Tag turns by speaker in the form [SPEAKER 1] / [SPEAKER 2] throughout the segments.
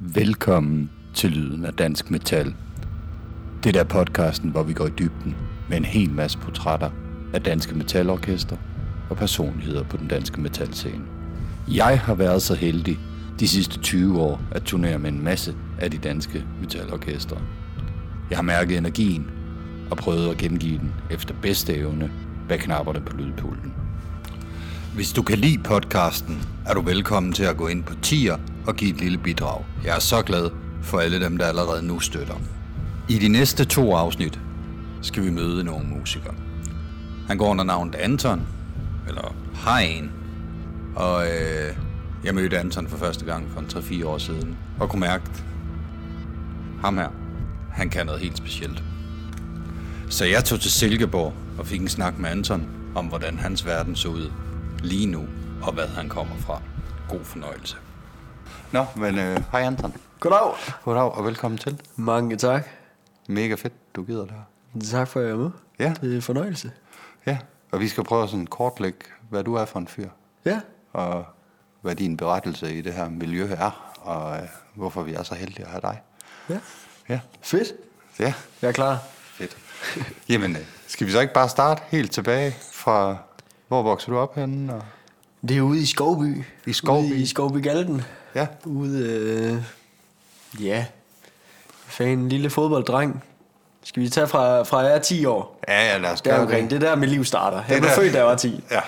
[SPEAKER 1] Velkommen til Lyden af Dansk Metal. Det der podcasten, hvor vi går i dybden med en hel masse portrætter af danske metalorkester og personligheder på den danske metalscene. Jeg har været så heldig de sidste 20 år at turnere med en masse af de danske metalorkestre. Jeg har mærket energien og prøvet at gengive den efter bedste evne bag knapperne på lydpulten. Hvis du kan lide podcasten, er du velkommen til at gå ind på tier og give et lille bidrag. Jeg er så glad for alle dem, der allerede nu støtter. I de næste to afsnit skal vi møde nogle musikere. Han går under navnet Anton, eller har en. Og øh, jeg mødte Anton for første gang for en 3-4 år siden, og kunne mærke, ham her, han kan noget helt specielt. Så jeg tog til Silkeborg og fik en snak med Anton om, hvordan hans verden så ud lige nu, og hvad han kommer fra. God fornøjelse. Nå, men øh, hej Anton.
[SPEAKER 2] Goddag.
[SPEAKER 1] Goddag og velkommen til.
[SPEAKER 2] Mange tak.
[SPEAKER 1] Mega fedt, du gider det her.
[SPEAKER 2] Tak for at jeg er med.
[SPEAKER 1] Ja.
[SPEAKER 2] Det er en fornøjelse.
[SPEAKER 1] Ja, og vi skal prøve sådan kortlægge, hvad du er for en fyr,
[SPEAKER 2] Ja.
[SPEAKER 1] og hvad din berettelse i det her miljø er, og øh, hvorfor vi er så heldige at have dig.
[SPEAKER 2] Ja.
[SPEAKER 1] Ja,
[SPEAKER 2] Fedt.
[SPEAKER 1] ja.
[SPEAKER 2] Jeg er klar.
[SPEAKER 1] Fedt. Jamen, øh, skal vi så ikke bare starte helt tilbage fra, hvor voksede du op henne? Og...
[SPEAKER 2] Det er ude i Skovby.
[SPEAKER 1] I Skovby?
[SPEAKER 2] Ude i Skovby Galten.
[SPEAKER 1] Ja.
[SPEAKER 2] Ude, øh... ja. Fan, en lille fodbolddreng. Skal vi tage fra, fra jeg er 10 år?
[SPEAKER 1] Ja, ja, lad os
[SPEAKER 2] Der
[SPEAKER 1] gøre
[SPEAKER 2] omkring. Det er der, mit liv starter. Jeg
[SPEAKER 1] Det
[SPEAKER 2] blev
[SPEAKER 1] der-
[SPEAKER 2] født, da jeg var 10.
[SPEAKER 1] Ja,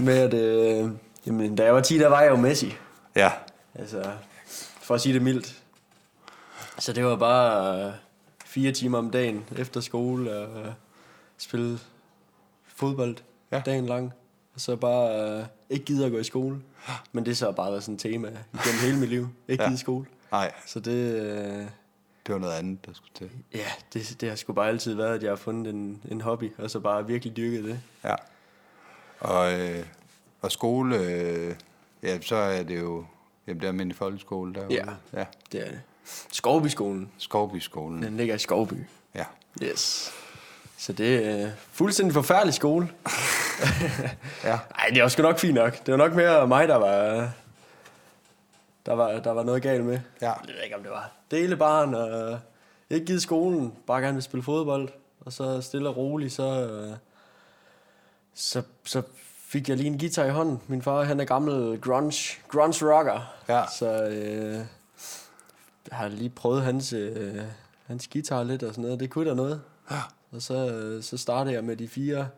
[SPEAKER 2] Med at, øh... jamen, da jeg var 10, der var jeg jo Messi.
[SPEAKER 1] ja.
[SPEAKER 2] Altså, for at sige det mildt. Så det var bare øh, fire timer om dagen efter skole og øh, spille fodbold
[SPEAKER 1] Ja.
[SPEAKER 2] ja. dagen lang. Og så bare øh, ikke gide at gå i skole. Men det er så bare været sådan et tema gennem hele mit liv. Ikke
[SPEAKER 1] Ja.
[SPEAKER 2] ja. gide i skole.
[SPEAKER 1] Nej,
[SPEAKER 2] Så det, øh,
[SPEAKER 1] det var noget andet, der skulle til.
[SPEAKER 2] ja, det, det har sgu bare altid været, at jeg har fundet en, en hobby, og så bare virkelig dyrket det.
[SPEAKER 1] Ja. Og, øh, og skole, øh, ja, så er det jo, jamen det er almindelig folkeskole derude.
[SPEAKER 2] Ja.
[SPEAKER 1] ja.
[SPEAKER 2] Det er det. Skovbyskolen,
[SPEAKER 1] Skovbyskolen.
[SPEAKER 2] den ligger i Skovby.
[SPEAKER 1] Ja.
[SPEAKER 2] Yes. Så det er øh, fuldstændig forfærdelig skole.
[SPEAKER 1] Ja.
[SPEAKER 2] Nej, det var sgu nok fint nok. Det var nok mere mig, der var... Der var, der var noget galt med.
[SPEAKER 1] Ja.
[SPEAKER 2] Jeg ved ikke, om det var. Dele barn og ikke givet skolen. Bare gerne vil spille fodbold. Og så stille og roligt, så, øh, så, så fik jeg lige en guitar i hånden. Min far, han er gammel grunge, grunge rocker.
[SPEAKER 1] Ja.
[SPEAKER 2] Så øh, jeg har lige prøvet hans, øh, hans guitar lidt og sådan noget. Det kunne da noget.
[SPEAKER 1] Ja.
[SPEAKER 2] Og så, øh, så startede jeg med de fire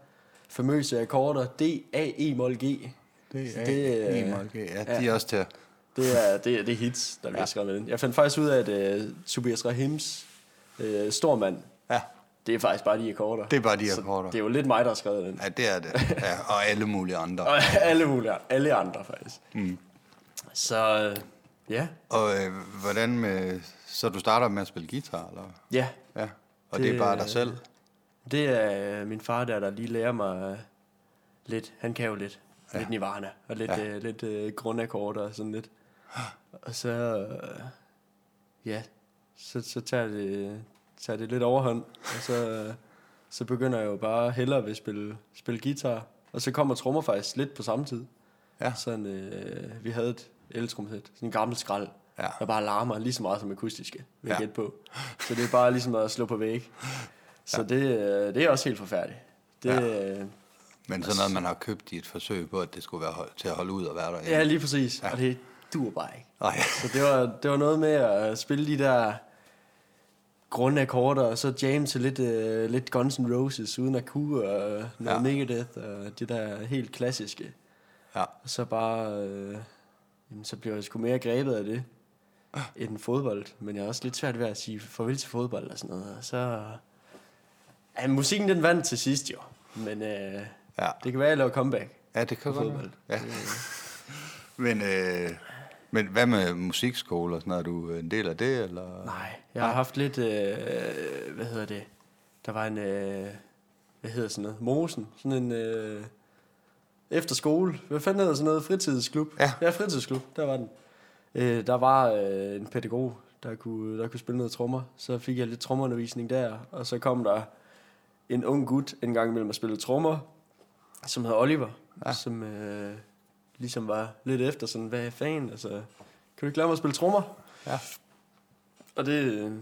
[SPEAKER 2] famøse akkorder D, A, E, mol, G.
[SPEAKER 1] Det
[SPEAKER 2] er- Det er-
[SPEAKER 1] ja, de er også til at-
[SPEAKER 2] Det er, det er, det er hits, der bliver
[SPEAKER 1] Ja.
[SPEAKER 2] ja. skrevet med den. Jeg fandt faktisk ud af, at øh, Tobias Rahims øh, Stormand,
[SPEAKER 1] Ja,
[SPEAKER 2] det er faktisk bare de akkorder.
[SPEAKER 1] Det er bare de
[SPEAKER 2] Så
[SPEAKER 1] akkorder.
[SPEAKER 2] det er jo lidt mig, der har skrevet den.
[SPEAKER 1] ja det er det. Ja, og alle mulige andre.
[SPEAKER 2] Og alle mulige, alle andre faktisk. Mm. Så øh, ja,
[SPEAKER 1] Og øh, hvordan med, så du starter med at spille guitar, eller?
[SPEAKER 2] ja.
[SPEAKER 1] Ja. Og det, det er
[SPEAKER 2] Det-
[SPEAKER 1] bare dig selv?
[SPEAKER 2] Det er øh, min far der, der lige lærer mig øh, lidt. Han kan jo lidt. Ja. Lidt Nirvana og lidt,
[SPEAKER 1] Ja.
[SPEAKER 2] ja. øh, lidt øh, grundakkorder og sådan lidt. Og så, øh, ja, så, så tager, det, tager det lidt overhånd. Og så, øh, så begynder jeg jo bare hellere ved at spille, spille guitar. Og så kommer trommer faktisk lidt på samme tid.
[SPEAKER 1] Ja.
[SPEAKER 2] Sådan, øh, vi havde et eltrumsæt, sådan en gammel skrald,
[SPEAKER 1] Ja.
[SPEAKER 2] der bare larmer lige så meget som akustiske, vil jeg
[SPEAKER 1] Ja.
[SPEAKER 2] gætte på. Så det er bare ligesom at slå på væg. Så det, øh, det er også helt forfærdeligt. Det, øh, ja.
[SPEAKER 1] Men sådan noget, man har købt i et forsøg på, at det skulle være hold, til at holde ud og være der.
[SPEAKER 2] ja, lige præcis. Ja. Og det duer bare ikke.
[SPEAKER 1] Nej.
[SPEAKER 2] Så det var, det var noget med at spille de der grundakkorder, og så jam til lidt, øh, lidt Guns N' Roses uden at kunne, og
[SPEAKER 1] Ja.
[SPEAKER 2] noget ja. Megadeth, og det der helt klassiske.
[SPEAKER 1] Ja.
[SPEAKER 2] Og så bare, øh, jamen, så bliver jeg sgu mere grebet af det, end fodbold. Men jeg er også lidt svært ved at sige farvel til fodbold og sådan noget. Og så, ja, musikken den vandt til sidst jo. Men øh,
[SPEAKER 1] Ja.
[SPEAKER 2] det kan være, at jeg laver comeback.
[SPEAKER 1] Ja, det kan godt være.
[SPEAKER 2] fodbold.
[SPEAKER 1] Ja. Men, øh, men hvad med musikskole og sådan noget? Er du en del af det, eller?
[SPEAKER 2] Nej, jeg har haft lidt, øh, hvad hedder det? Der var en, øh, hvad hedder sådan noget? Mosen, sådan en... Øh, efter skole. Hvad fanden hedder sådan noget? Fritidsklub.
[SPEAKER 1] Ja.
[SPEAKER 2] ja fritidsklub. Der var den. Øh, der var øh, en pædagog, der kunne, der kunne spille noget trommer. Så fik jeg lidt trommerundervisning der. Og så kom der en ung gut en gang imellem at spille trommer, som hed Oliver. Ja. Som øh, ligesom var lidt efter sådan, hvad fanden? Altså, kan du ikke lære mig at spille trommer?
[SPEAKER 1] Ja.
[SPEAKER 2] Og det øh,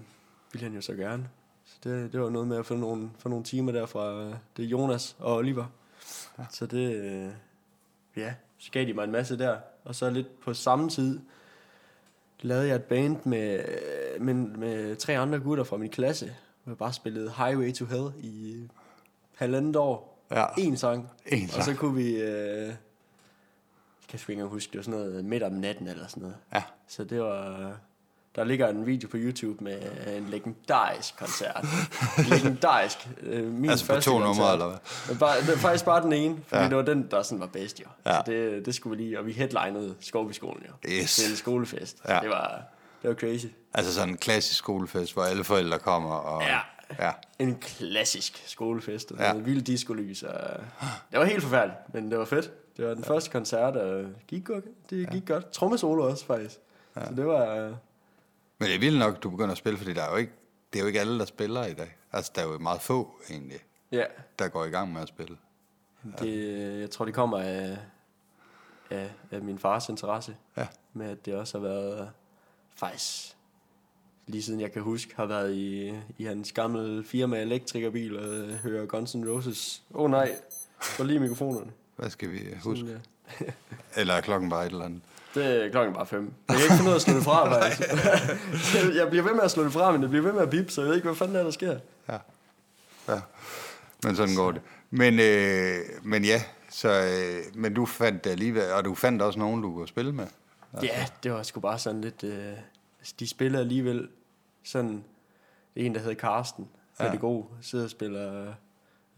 [SPEAKER 2] ville han jo så gerne. Så det, det var noget med at få nogle, få nogle timer der fra øh, det er Jonas og Oliver. Ja. Så det, øh, ja, så gav de mig en masse der. Og så lidt på samme tid lavede jeg et band med, øh, med, med tre andre gutter fra min klasse. Hvor jeg bare spillede Highway to Hell i øh, halvandet år.
[SPEAKER 1] Ja.
[SPEAKER 2] En sang.
[SPEAKER 1] Ah. En
[SPEAKER 2] Og så
[SPEAKER 1] sang.
[SPEAKER 2] kunne vi... Øh, jeg kan sgu ikke engang huske, det var sådan noget midt om natten eller sådan noget.
[SPEAKER 1] Ja.
[SPEAKER 2] Så det var... Der ligger en video på YouTube med en legendarisk koncert. legendarisk. Øh, min
[SPEAKER 1] Altså på
[SPEAKER 2] første
[SPEAKER 1] to numre,
[SPEAKER 2] koncert.
[SPEAKER 1] eller hvad?
[SPEAKER 2] Men Bare, det var faktisk bare den ene, fordi
[SPEAKER 1] Ja.
[SPEAKER 2] ja. det var den, der sådan var bedst jo.
[SPEAKER 1] Ja.
[SPEAKER 2] Så det, det skulle vi lige, og vi headlinede Skovbyskolen jo.
[SPEAKER 1] Yes.
[SPEAKER 2] Til en skolefest.
[SPEAKER 1] Ja.
[SPEAKER 2] Det, var, det var crazy.
[SPEAKER 1] Altså sådan en klassisk skolefest, hvor alle forældre kommer. Og,
[SPEAKER 2] Ja.
[SPEAKER 1] ja.
[SPEAKER 2] En klassisk skolefest. Og
[SPEAKER 1] Ja.
[SPEAKER 2] ja. Vilde discolys. Og... Det var helt forfærdeligt, men det var fedt. Det var den ja. første koncert, og det gik godt. Det ja. gik godt. Trommesolo også, faktisk. Ja. Så det var...
[SPEAKER 1] Men det er vildt nok, du begynder at spille, fordi der er jo ikke, det er jo ikke alle, der spiller i dag. Altså, der er jo meget få, egentlig,
[SPEAKER 2] Ja,
[SPEAKER 1] der går i gang med at spille.
[SPEAKER 2] det, jeg tror, det kommer af, af, af min fars interesse.
[SPEAKER 1] Ja.
[SPEAKER 2] Med at det også har været, faktisk lige siden jeg kan huske, har været i, i hans gamle firma elektrikerbil og øh, hører Guns N' Roses. Åh oh, nej, for lige mikrofonerne.
[SPEAKER 1] Hvad skal vi huske?
[SPEAKER 2] Ja.
[SPEAKER 1] Eller er klokken bare et eller andet?
[SPEAKER 2] Det er klokken bare fem. Jeg kan ikke finde ud af at slå det fra, faktisk. Jeg- jeg bliver ved med at slå det fra, men det bliver ved med at bip, så jeg ved ikke, hvad fanden der, er, der sker.
[SPEAKER 1] Ja. ja. Men sådan går det. Men, øh, men ja, så, øh, men du fandt det alligevel, og du fandt også nogen, du kunne spille med.
[SPEAKER 2] Ja, det var sgu bare sådan lidt... Øh, altså, de spiller alligevel sådan... En, der hedder Karsten, rigtig
[SPEAKER 1] Ja.
[SPEAKER 2] ja. god, sidder og spiller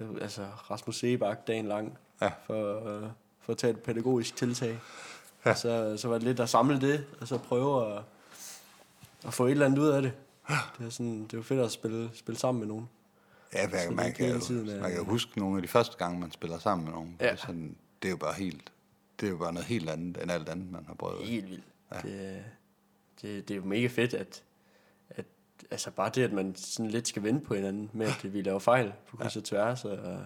[SPEAKER 2] øh, altså Rasmus Sebak dagen lang
[SPEAKER 1] Ja.
[SPEAKER 2] for, øh, for at tage et pædagogisk tiltag. Ja. Så, så var det lidt at samle det, og så prøve at, at få et eller andet ud af det. Det var, sådan, det var fedt at spille, spille sammen med nogen.
[SPEAKER 1] Ja, hver,
[SPEAKER 2] det
[SPEAKER 1] man,
[SPEAKER 2] ikke
[SPEAKER 1] kan
[SPEAKER 2] hele
[SPEAKER 1] jo,
[SPEAKER 2] tiden er-
[SPEAKER 1] man kan jo huske nogle af de første gange, man spiller sammen med nogen.
[SPEAKER 2] Ja.
[SPEAKER 1] Det er Sådan, det er jo bare helt, det er jo bare noget helt andet, end alt andet, man har prøvet.
[SPEAKER 2] Helt vildt. Ja. Det, det, det er jo mega fedt, at, at altså bare det, at man sådan lidt skal vente på hinanden med, at vi laver fejl på kryds og tværs, og, og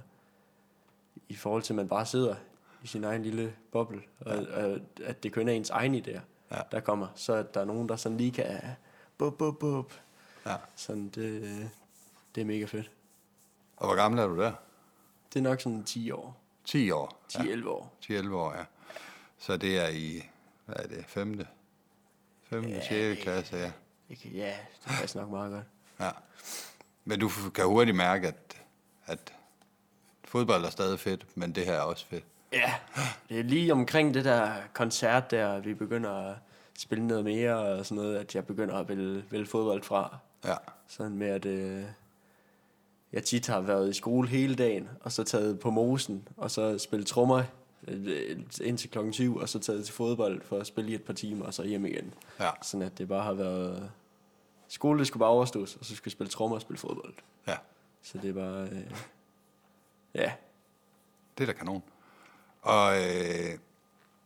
[SPEAKER 2] i forhold til, at man bare sidder i sin egen lille boble, og, ja. og at det kun er ens egne idéer,
[SPEAKER 1] Ja.
[SPEAKER 2] ja. der kommer, så at der er nogen, der sådan lige kan bup, bup, bup.
[SPEAKER 1] Ja.
[SPEAKER 2] Sådan, det, det er mega fedt.
[SPEAKER 1] Og hvor gammel er du der?
[SPEAKER 2] Det er nok sådan 10 år,
[SPEAKER 1] 10 år.
[SPEAKER 2] 10-11 ja. år.
[SPEAKER 1] 10-11 år, ja. Så det er i, hvad er det, 5. 5. Ja, 6. klasse, ja.
[SPEAKER 2] Ikke? Ja, det er faktisk nok meget godt.
[SPEAKER 1] ja. Men du kan hurtigt mærke, at, at fodbold er stadig fedt, men det her er også fedt.
[SPEAKER 2] Ja, det er lige omkring det der koncert der, vi begynder at spille noget mere og sådan noget, at jeg begynder at vælge, vælge fodbold fra.
[SPEAKER 1] Ja,
[SPEAKER 2] Sådan med, at øh, jeg tit har været i skole hele dagen, og så taget på mosen, og så spillet trommer øh, indtil klokken 20, og så taget til fodbold for at spille i et par timer, og så hjem igen.
[SPEAKER 1] Ja.
[SPEAKER 2] Sådan at det bare har været... Skole, det skulle bare overstås, og så skulle jeg spille trommer og spille fodbold.
[SPEAKER 1] ja.
[SPEAKER 2] Så det var... Øh, ja,
[SPEAKER 1] Det er da kanon. Og øh,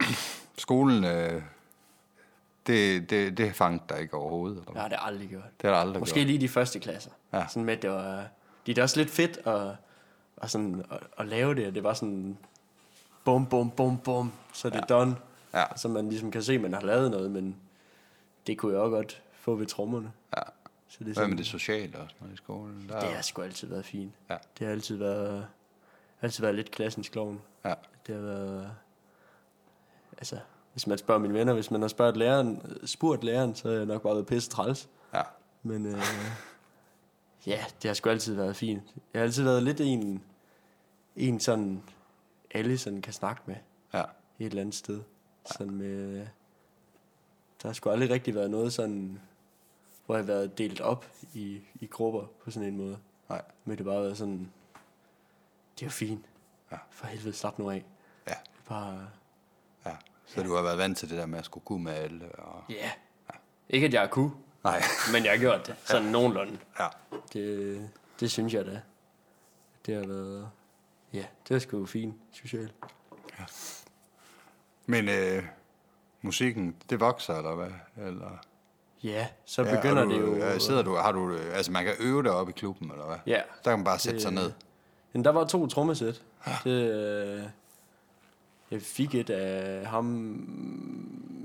[SPEAKER 1] skolen, øh, det, det, det fangede dig ikke overhovedet? Eller?
[SPEAKER 2] det
[SPEAKER 1] Ja.
[SPEAKER 2] har det aldrig gjort.
[SPEAKER 1] Det har der aldrig
[SPEAKER 2] Måske
[SPEAKER 1] gjort.
[SPEAKER 2] lige de første klasser.
[SPEAKER 1] Ja.
[SPEAKER 2] Ja. Sådan med, at det var, det er da også lidt fedt at, at, sådan, at, at lave det, og det var sådan, bum, bum, bum, bum, så er det ja. done.
[SPEAKER 1] Ja.
[SPEAKER 2] Så man ligesom kan se, at man har lavet noget, men det kunne jeg også godt få ved trommerne.
[SPEAKER 1] Ja.
[SPEAKER 2] Så det er,
[SPEAKER 1] Hvad
[SPEAKER 2] sådan,
[SPEAKER 1] med det
[SPEAKER 2] det?
[SPEAKER 1] sociale og sådan noget i skolen? Der,
[SPEAKER 2] det har sgu altid været fint.
[SPEAKER 1] Ja.
[SPEAKER 2] Det har altid været, altid været lidt klassens klovn.
[SPEAKER 1] Ja.
[SPEAKER 2] Det har været... Altså, hvis man spørger mine venner, hvis man har spurgt læreren, spurgt læreren så har jeg nok bare været pisse træls.
[SPEAKER 1] Ja.
[SPEAKER 2] Men øh, ja, det har sgu altid været fint. Jeg har altid været lidt en, en sådan, alle sådan kan snakke med
[SPEAKER 1] Ja.
[SPEAKER 2] et eller andet sted. Sådan med, der har sgu aldrig rigtig været noget sådan, hvor jeg har været delt op i, i grupper på sådan en måde.
[SPEAKER 1] Nej.
[SPEAKER 2] Men det har bare været sådan, det er jo fint.
[SPEAKER 1] Ja.
[SPEAKER 2] For helvede, slap nu af.
[SPEAKER 1] Ja.
[SPEAKER 2] Bare,
[SPEAKER 1] ja. Så du har været vant til det der med at skulle kunne med alle? Og...
[SPEAKER 2] ja. Yeah. Ikke at jeg kunne,
[SPEAKER 1] Nej.
[SPEAKER 2] men jeg har gjort det. Sådan nogenlunde.
[SPEAKER 1] Ja.
[SPEAKER 2] Det, det synes jeg da. Det har været... Ja, det er sgu fint, socialt.
[SPEAKER 1] Men øh, musikken, det vokser, eller hvad? Eller,
[SPEAKER 2] Ja, så ja, begynder
[SPEAKER 1] og du,
[SPEAKER 2] det jo...
[SPEAKER 1] øh, sidder du, har du, øh, altså man kan øve dig op i klubben, eller hvad?
[SPEAKER 2] Ja.
[SPEAKER 1] Der kan man bare sætte
[SPEAKER 2] Det-
[SPEAKER 1] sig ned.
[SPEAKER 2] Men der var to trommesæt. Det, øh, jeg fik et af ham...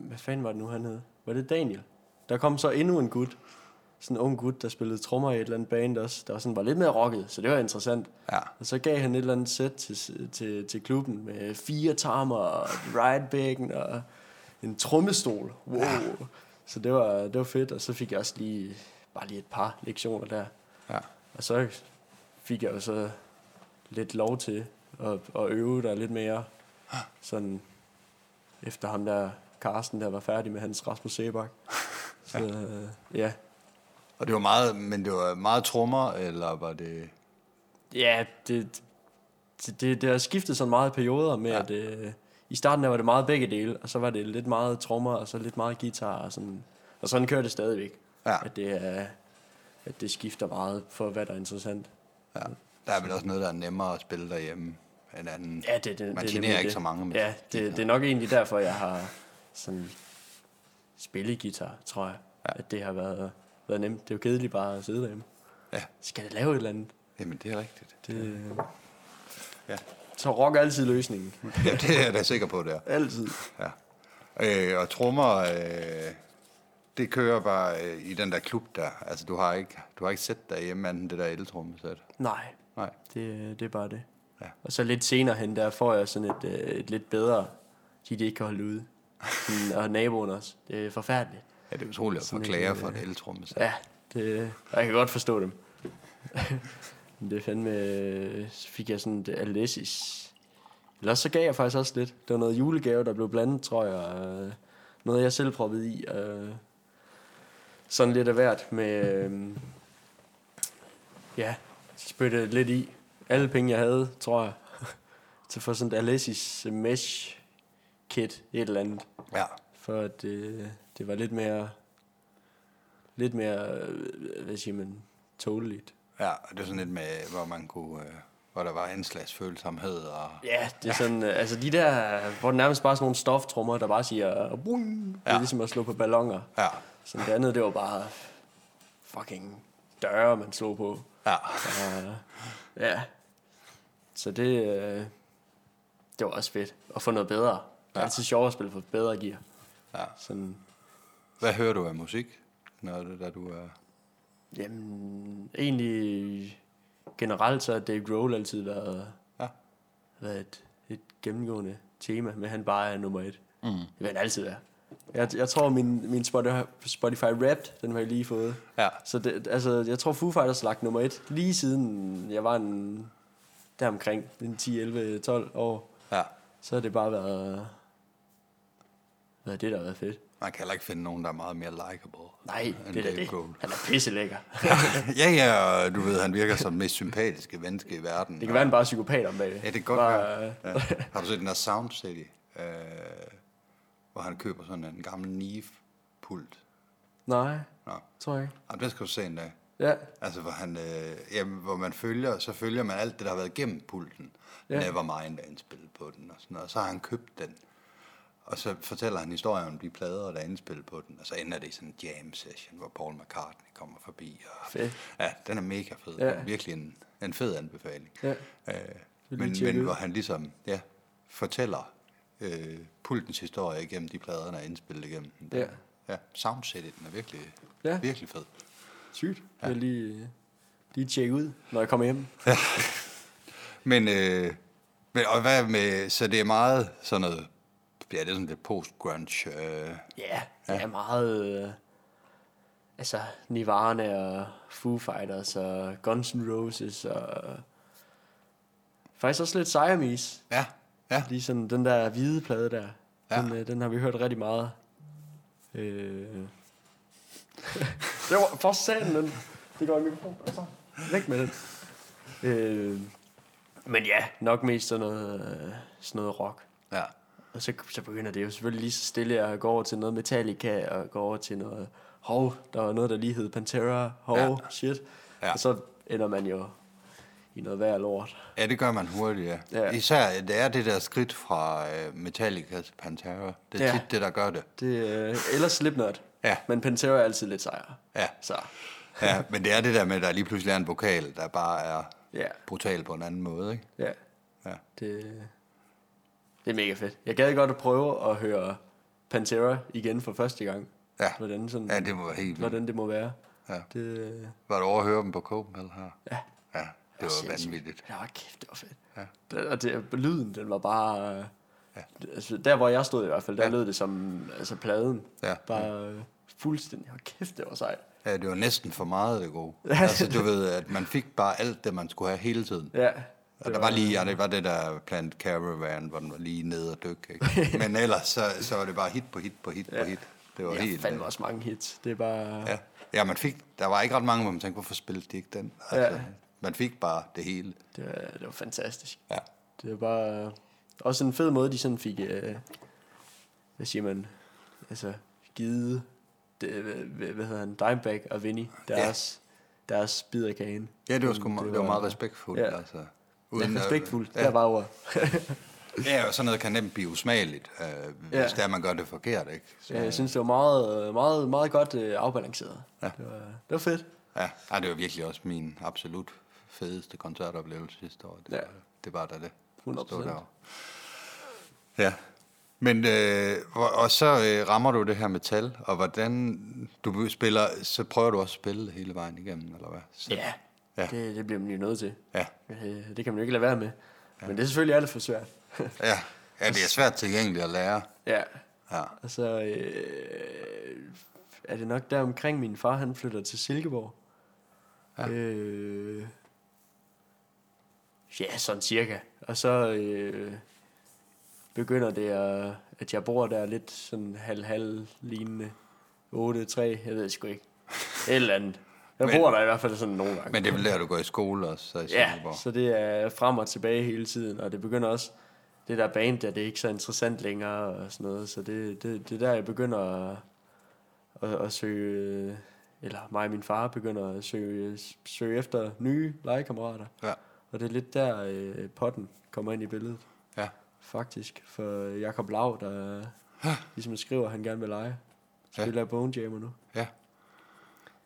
[SPEAKER 2] Hvad fanden var det nu, han hed? Var det Daniel? Der kom så endnu en gut, sådan en ung gut, der spillede trommer i et eller andet band også, der var sådan var lidt mere rocket, så det var interessant.
[SPEAKER 1] Ja.
[SPEAKER 2] Og så gav han et eller andet sæt til, til, til klubben med fire tarmer og et ridebækken og en trommestol. Wow. Ja. Så det var, det var fedt, og så fik jeg også lige bare lige et par lektioner der.
[SPEAKER 1] Ja.
[SPEAKER 2] Og så fik jeg jo så lidt lov til at, at øve der lidt mere. Sådan efter ham der, Carsten, der var færdig med hans Rasmus Sebak. Så øh, ja.
[SPEAKER 1] Og det var meget, men det var meget trommer, eller var det...
[SPEAKER 2] Ja, det, det, det, det har skiftet sådan meget i perioder med, ja. at øh, i starten der var det meget begge dele, og så var det lidt meget trommer, og så lidt meget guitar, og sådan, og sådan kører det stadigvæk.
[SPEAKER 1] Ja.
[SPEAKER 2] At, det er, at det skifter meget for, hvad der er interessant.
[SPEAKER 1] Ja. Der er vel også noget, der er nemmere at spille derhjemme end anden.
[SPEAKER 2] Ja, det, det,
[SPEAKER 1] Man
[SPEAKER 2] det,
[SPEAKER 1] generer
[SPEAKER 2] nemlig
[SPEAKER 1] ikke så mange med
[SPEAKER 2] Ja, det, det er nok egentlig derfor, jeg har sådan spillet guitar, tror jeg. Ja. At det har været, været nemt. Det er jo kedeligt bare at sidde derhjemme.
[SPEAKER 1] Ja.
[SPEAKER 2] Skal jeg lave et eller andet?
[SPEAKER 1] Jamen, det er rigtigt.
[SPEAKER 2] Det,
[SPEAKER 1] Ja.
[SPEAKER 2] Så rock er altid løsningen.
[SPEAKER 1] Ja, det er jeg da sikker på, det er.
[SPEAKER 2] Altid.
[SPEAKER 1] Ja. Øh, og trommer, øh, det kører bare øh, i den der klub der. Altså, du har ikke, du har ikke set derhjemme anden det der eltrommesæt.
[SPEAKER 2] Nej,
[SPEAKER 1] Nej.
[SPEAKER 2] det, det er bare det.
[SPEAKER 1] Ja.
[SPEAKER 2] Og så lidt senere hen, der får jeg sådan et, øh, et lidt bedre, de de ikke kan holde ude. Sådan, og naboen også. Det er forfærdeligt.
[SPEAKER 1] Ja, det er utroligt at
[SPEAKER 2] Sådan
[SPEAKER 1] forklare
[SPEAKER 2] et,
[SPEAKER 1] for et
[SPEAKER 2] øh,
[SPEAKER 1] eltrommesæt.
[SPEAKER 2] Ja, det, og jeg kan godt forstå dem. Men det er fandme, øh, så fik jeg sådan et Alessis. Eller også så gav jeg faktisk også lidt. Det var noget julegave, der blev blandet, tror jeg. øh, Noget, jeg selv proppede i. øh, Sådan lidt af hvert med... øh, Ja, spytte lidt i. Alle penge, jeg havde, tror jeg. Til at få sådan et Alessis mesh kit, et eller andet
[SPEAKER 1] Ja.
[SPEAKER 2] for at det, det var lidt mere, lidt mere, øh, hvad siger man, tåleligt.
[SPEAKER 1] Ja, og det er sådan lidt med, hvor man kunne, øh, hvor der var anslagsfølsomhed og...
[SPEAKER 2] Ja, det er sådan, øh, altså de der, hvor det nærmest bare er sådan nogle stoftrummer, der bare siger, Bum! det er
[SPEAKER 1] Ja.
[SPEAKER 2] ligesom at slå på ballonger.
[SPEAKER 1] Ja,
[SPEAKER 2] Så det andet, det var bare fucking døre, man slog på.
[SPEAKER 1] ja,
[SPEAKER 2] Og, ja, så det, øh, det var også fedt at få noget bedre. Det er
[SPEAKER 1] Ja.
[SPEAKER 2] altid sjovt at spille for bedre gear.
[SPEAKER 1] ja.
[SPEAKER 2] Sådan,
[SPEAKER 1] Hvad hører du af musik, når det, der du er...
[SPEAKER 2] Jamen, egentlig generelt så har Dave Grohl altid været,
[SPEAKER 1] Ja.
[SPEAKER 2] været et, et gennemgående tema, men han bare er nummer et. Mm. Det vil han altid være. Jeg, jeg tror, min, min Spotify, Spotify Wrapped, den har jeg lige fået.
[SPEAKER 1] Ja.
[SPEAKER 2] Så det, altså, jeg tror, Foo Fighters har lagt nummer et, lige siden jeg var en, der omkring en 10, 11, 12 år.
[SPEAKER 1] Ja.
[SPEAKER 2] Så har det bare været, været det, der har været fedt.
[SPEAKER 1] Man kan heller ikke finde nogen, der er meget mere likable.
[SPEAKER 2] Nej,
[SPEAKER 1] end
[SPEAKER 2] det er da
[SPEAKER 1] Dave
[SPEAKER 2] det.
[SPEAKER 1] Grohl.
[SPEAKER 2] Han er pisselækker.
[SPEAKER 1] ja, ja, og du ved, han virker som den mest sympatiske menneske i verden.
[SPEAKER 2] Det kan være, han bare er psykopat om bagved.
[SPEAKER 1] Ja, det kan godt
[SPEAKER 2] bare, øh,
[SPEAKER 1] være. Ja. Har du set den der Sound City, øh, hvor han køber sådan en gammel Neve-pult?
[SPEAKER 2] Nej,
[SPEAKER 1] Nå,
[SPEAKER 2] tror jeg ikke.
[SPEAKER 1] Jamen, det skal du se en dag.
[SPEAKER 2] Ja,
[SPEAKER 1] Altså, hvor, han, øh, jamen, hvor man følger, så følger man alt det, der har været gennem pulten.
[SPEAKER 2] Ja.
[SPEAKER 1] Ja. Nevermind er indspillet på den, og, sådan noget. og så har han købt den. Og så fortæller han historier om de plader, der er indspillet på den. Og så ender det i sådan en jam session, hvor Paul McCartney kommer forbi. Og,
[SPEAKER 2] Fedt.
[SPEAKER 1] Ja, den er mega fed.
[SPEAKER 2] Ja.
[SPEAKER 1] Ja. Virkelig en, en fed anbefaling.
[SPEAKER 2] Ja.
[SPEAKER 1] Øh,
[SPEAKER 2] lige
[SPEAKER 1] men,
[SPEAKER 2] tjekke
[SPEAKER 1] men
[SPEAKER 2] ud.
[SPEAKER 1] hvor han ligesom ja, fortæller øh, pultens historie igennem de plader, der er indspillet igennem. den.
[SPEAKER 2] Ja.
[SPEAKER 1] ja soundsettet, den er virkelig,
[SPEAKER 2] Ja.
[SPEAKER 1] ja. virkelig fed.
[SPEAKER 2] sygt. Ja. Jeg lige, øh, lige tjekke ud, når jeg kommer hjem.
[SPEAKER 1] Men, øh, men og hvad med, så det er meget sådan noget, ja, det er sådan lidt post-grunge. Øh,
[SPEAKER 2] Ja, det er meget... Øh, altså, Nirvana og Foo Fighters og Guns N' Roses og... øh, Faktisk også lidt Siamese.
[SPEAKER 1] ja, ja,
[SPEAKER 2] Lige sådan den der hvide plade der.
[SPEAKER 1] Ja.
[SPEAKER 2] Den, øh, den har vi hørt rigtig meget. Øh. det var for satan, den. Det går i mikrofonen. Altså, væk med den. Øh. Men ja, nok mest sådan noget, øh, sådan noget rock.
[SPEAKER 1] ja,
[SPEAKER 2] Og så, så begynder det jo selvfølgelig lige så stille at gå over til noget Metallica og gå over til noget... Hov, der var noget, der lige hed Pantera. Hov, ja.
[SPEAKER 1] Ja.
[SPEAKER 2] shit. Ja.
[SPEAKER 1] Ja.
[SPEAKER 2] Og så ender man jo i noget værd lort.
[SPEAKER 1] ja, det gør man hurtigt, ja.
[SPEAKER 2] Ja.
[SPEAKER 1] ja. Især, det er det der skridt fra øh, Metallica til Pantera. Det er ja.
[SPEAKER 2] Ja.
[SPEAKER 1] tit det, der gør det.
[SPEAKER 2] Det, øh, eller Slipknot.
[SPEAKER 1] Ja.
[SPEAKER 2] Men Pantera er altid lidt sejere.
[SPEAKER 1] Ja.
[SPEAKER 2] Så,
[SPEAKER 1] ja, men det er det der med, at der lige pludselig er en vokal, der bare er
[SPEAKER 2] Ja.
[SPEAKER 1] brutal på en anden måde, ikke?
[SPEAKER 2] ja.
[SPEAKER 1] Ja.
[SPEAKER 2] Det, det er mega fedt. Jeg gad godt at prøve at høre Pantera igen for første gang.
[SPEAKER 1] Ja,
[SPEAKER 2] Hvordan, sådan,
[SPEAKER 1] ja det må være helt vildt.
[SPEAKER 2] hvordan det må være.
[SPEAKER 1] Ja.
[SPEAKER 2] Det, øh,
[SPEAKER 1] Var du over at høre dem på Copenhagen her?
[SPEAKER 2] ja.
[SPEAKER 1] Ja, det var vanvittigt.
[SPEAKER 2] Ja, kæft, det var fedt.
[SPEAKER 1] Ja.
[SPEAKER 2] Det, og det, lyden, den var bare... øh,
[SPEAKER 1] Ja.
[SPEAKER 2] Altså, der, hvor jeg stod i hvert fald, der
[SPEAKER 1] Ja.
[SPEAKER 2] ja. lød det som altså, pladen.
[SPEAKER 1] Ja.
[SPEAKER 2] Bare øh, fuldstændig. Hold kæft, det var sejt.
[SPEAKER 1] Ja, det var næsten for meget det gode. altså, du ved, at man fik bare alt det, man skulle have hele tiden.
[SPEAKER 2] Ja.
[SPEAKER 1] Og der var lige, ja, det var det der Plant Caravan, hvor den var lige nede og dykke, ikke? Men ellers, så, så var det bare hit på hit på hit ja. på hit. Det var
[SPEAKER 2] jeg
[SPEAKER 1] helt...
[SPEAKER 2] fandt også mange hits. Det er bare...
[SPEAKER 1] Ja. ja, man fik, der var ikke ret mange, hvor man tænkte, hvorfor spillede de ikke den? Altså,
[SPEAKER 2] Ja.
[SPEAKER 1] Man fik bare det hele.
[SPEAKER 2] Det, var, det var fantastisk.
[SPEAKER 1] Ja.
[SPEAKER 2] Det var bare øh, også en fed måde, de sådan fik, øh, hvad siger man, altså givet, det, hvad, hvad hvad hedder han, Dimebag og Vinny, deres, ja. deres bid af kagen.
[SPEAKER 1] Ja, det var sgu det var meget respektfuldt, ja.
[SPEAKER 2] Ja.
[SPEAKER 1] altså.
[SPEAKER 2] Uden,
[SPEAKER 1] at-
[SPEAKER 2] respektfuldt, ja.
[SPEAKER 1] ja.
[SPEAKER 2] der var ordet.
[SPEAKER 1] ja, og sådan noget kan nemt blive usmageligt, øh, hvis
[SPEAKER 2] Ja.
[SPEAKER 1] det er, man gør det forkert, ikke? Så,
[SPEAKER 2] Ja, jeg synes, det var meget, øh, meget, meget godt øh, afbalanceret. Ja. Det, var, det var fedt.
[SPEAKER 1] ja. ja, det var virkelig også min absolut fedeste koncertoplevelse sidste år. Det,
[SPEAKER 2] Ja.
[SPEAKER 1] var, det var da det.
[SPEAKER 2] 100%.
[SPEAKER 1] derovre. Ja. Men, øh, og, og så øh, rammer du det her med tal, og hvordan du spiller, så prøver du også at spille det hele vejen igennem, eller hvad? Så,
[SPEAKER 2] Ja,
[SPEAKER 1] Ja.
[SPEAKER 2] ja. Det, det bliver man jo nødt til.
[SPEAKER 1] Ja.
[SPEAKER 2] Øh, det kan man jo ikke lade være med. Ja. Men det er selvfølgelig alt for svært.
[SPEAKER 1] Ja. ja, det er svært tilgængeligt at lære.
[SPEAKER 2] ja.
[SPEAKER 1] Ja.
[SPEAKER 2] Og så Altså, øh, er det nok der omkring min far, han flytter til Silkeborg. Ja. Øh, ja, sådan cirka. Og så øh, begynder det, at, at jeg bor der lidt sådan halv-halv lignende. 8-3, jeg ved sgu ikke. Et eller andet. Jeg
[SPEAKER 1] Men-
[SPEAKER 2] bor der i hvert fald sådan nogle gange.
[SPEAKER 1] Men det er vel der, du går i skole også, så i
[SPEAKER 2] Ja,
[SPEAKER 1] Silkeborg.
[SPEAKER 2] så det er frem og tilbage hele tiden, og det begynder også, det der band der, det er ikke så interessant længere og sådan noget, så det, det, det er der, jeg begynder at, at, at søge, eller mig og min far begynder at søge, søge efter nye legekammerater,
[SPEAKER 1] Ja.
[SPEAKER 2] og det er lidt der, øh, potten kommer ind i billedet,
[SPEAKER 1] Ja.
[SPEAKER 2] faktisk, for Jakob Lav, der ligesom skriver, at han gerne vil lege,
[SPEAKER 1] Ja.
[SPEAKER 2] spiller ja. Bone Jammer nu.
[SPEAKER 1] Ja.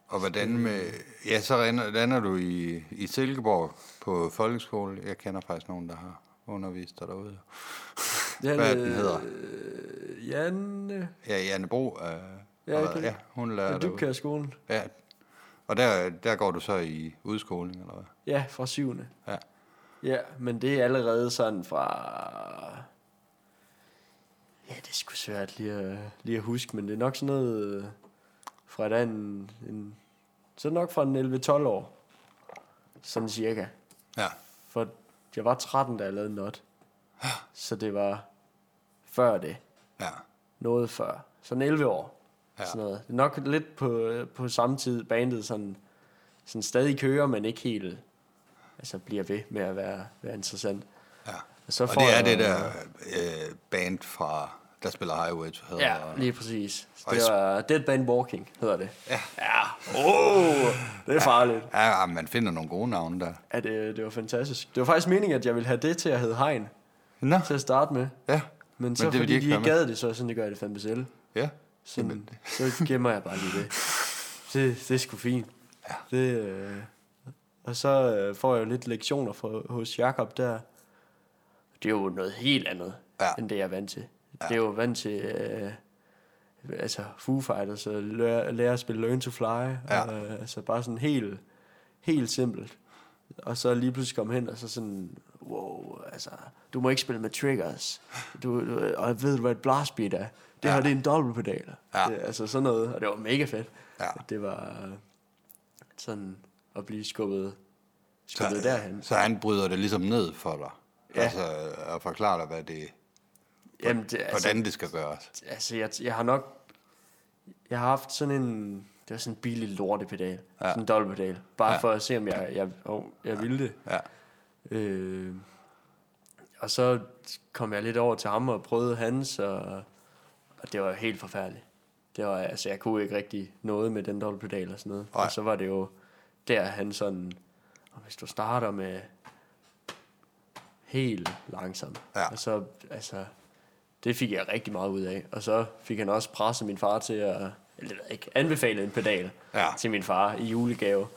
[SPEAKER 1] Og
[SPEAKER 2] Øh.
[SPEAKER 1] hvordan med... Ja, så lander, lander du i, i Silkeborg på folkeskole. Jeg kender faktisk nogen, der har undervist dig derude.
[SPEAKER 2] Det er,
[SPEAKER 1] Hvad er
[SPEAKER 2] øh,
[SPEAKER 1] den hedder?
[SPEAKER 2] Janne,
[SPEAKER 1] Ja, Janne Bro. Øh,
[SPEAKER 2] jeg
[SPEAKER 1] har været-
[SPEAKER 2] kan-
[SPEAKER 1] ja, hun lærer
[SPEAKER 2] ja,
[SPEAKER 1] derude.
[SPEAKER 2] Dybkær skolen.
[SPEAKER 1] Ja. Og der, der går du så i udskoling, eller hvad?
[SPEAKER 2] Ja, fra syvende.
[SPEAKER 1] Ja.
[SPEAKER 2] Ja, men det er allerede sådan fra... Ja, det er sgu svært lige at, lige at huske, men det er nok sådan noget øh, fra den... En, så nok fra en 11-12 år. Sådan cirka.
[SPEAKER 1] Ja.
[SPEAKER 2] For jeg var 13, da jeg lavede not. Så det var før det.
[SPEAKER 1] Ja.
[SPEAKER 2] Noget før. Sådan 11 år.
[SPEAKER 1] Ja.
[SPEAKER 2] Ja. Sådan noget. Det er nok lidt på, på samme tid bandet sådan, sådan stadig kører, men ikke helt altså bliver ved med at være, være interessant.
[SPEAKER 1] ja.
[SPEAKER 2] Og, så
[SPEAKER 1] Og det er det der øh, band fra, der spiller Highway to Hell.
[SPEAKER 2] Ja,
[SPEAKER 1] og-
[SPEAKER 2] lige præcis.
[SPEAKER 1] Og
[SPEAKER 2] Det
[SPEAKER 1] jeg-
[SPEAKER 2] var Dead Band Walking, hedder det. Ja. Ja. Oh, det er farligt.
[SPEAKER 1] ja, man finder nogle gode navne der.
[SPEAKER 2] Ja, det, det var fantastisk. Det var faktisk meningen, at jeg ville have det til at hedde Hegn
[SPEAKER 1] Nå,
[SPEAKER 2] til at starte med.
[SPEAKER 1] ja.
[SPEAKER 2] Men så Men
[SPEAKER 1] det vil
[SPEAKER 2] fordi de ikke,
[SPEAKER 1] være med.
[SPEAKER 2] gad det, så er jeg sådan, det gør jeg det fandme selv.
[SPEAKER 1] Ja.
[SPEAKER 2] Sådan, så gemmer jeg bare lige det. Det, det er sgu fint. Ja. Det, øh, og så øh, får jeg jo lidt lektioner fra, hos Jakob der. Det er jo noget helt andet,
[SPEAKER 1] Ja.
[SPEAKER 2] ja. end det jeg er vant til. Ja. Det er jo vant til øh, altså Foo Fighters og lære, lære at spille Learn to Fly.
[SPEAKER 1] Ja.
[SPEAKER 2] Og, øh, altså bare sådan helt, helt simpelt. Og så lige pludselig kom hen, og så sådan, wow, altså, du må ikke spille med triggers. Du, du, og ved du, hvad et blastbeat er?
[SPEAKER 1] Ja.
[SPEAKER 2] Det ja. her, det er en dobbeltpedal.
[SPEAKER 1] Ja.
[SPEAKER 2] Det, altså sådan noget, og det var mega fedt.
[SPEAKER 1] Ja.
[SPEAKER 2] Det var øh, sådan at blive skubbet, skubbet
[SPEAKER 1] Så,
[SPEAKER 2] derhen.
[SPEAKER 1] så han bryder det ligesom ned for dig. Ja.
[SPEAKER 2] Ja.
[SPEAKER 1] Altså, og forklarer dig, hvad det,
[SPEAKER 2] Jamen, det, altså,
[SPEAKER 1] hvordan det skal gøres.
[SPEAKER 2] altså jeg, jeg har nok, jeg har haft sådan en, det var sådan en billig lortepedal, ja. sådan en dobbeltpedal, bare ja. for at se, om jeg, jeg, oh, jeg ville det.
[SPEAKER 1] Ja.
[SPEAKER 2] Øh, og så kom jeg lidt over til ham og prøvede hans, og, og det var helt forfærdeligt. Det var, altså, jeg kunne ikke rigtig noget med den dobbeltpedal og sådan noget.
[SPEAKER 1] Nej.
[SPEAKER 2] Og så var det jo der, han sådan, og hvis du starter med helt langsomt,
[SPEAKER 1] Ja.
[SPEAKER 2] og så, altså, det fik jeg rigtig meget ud af. Og så fik han også presset min far til at, eller det ved jeg ikke, anbefale en pedal
[SPEAKER 1] Ja.
[SPEAKER 2] til min far i julegave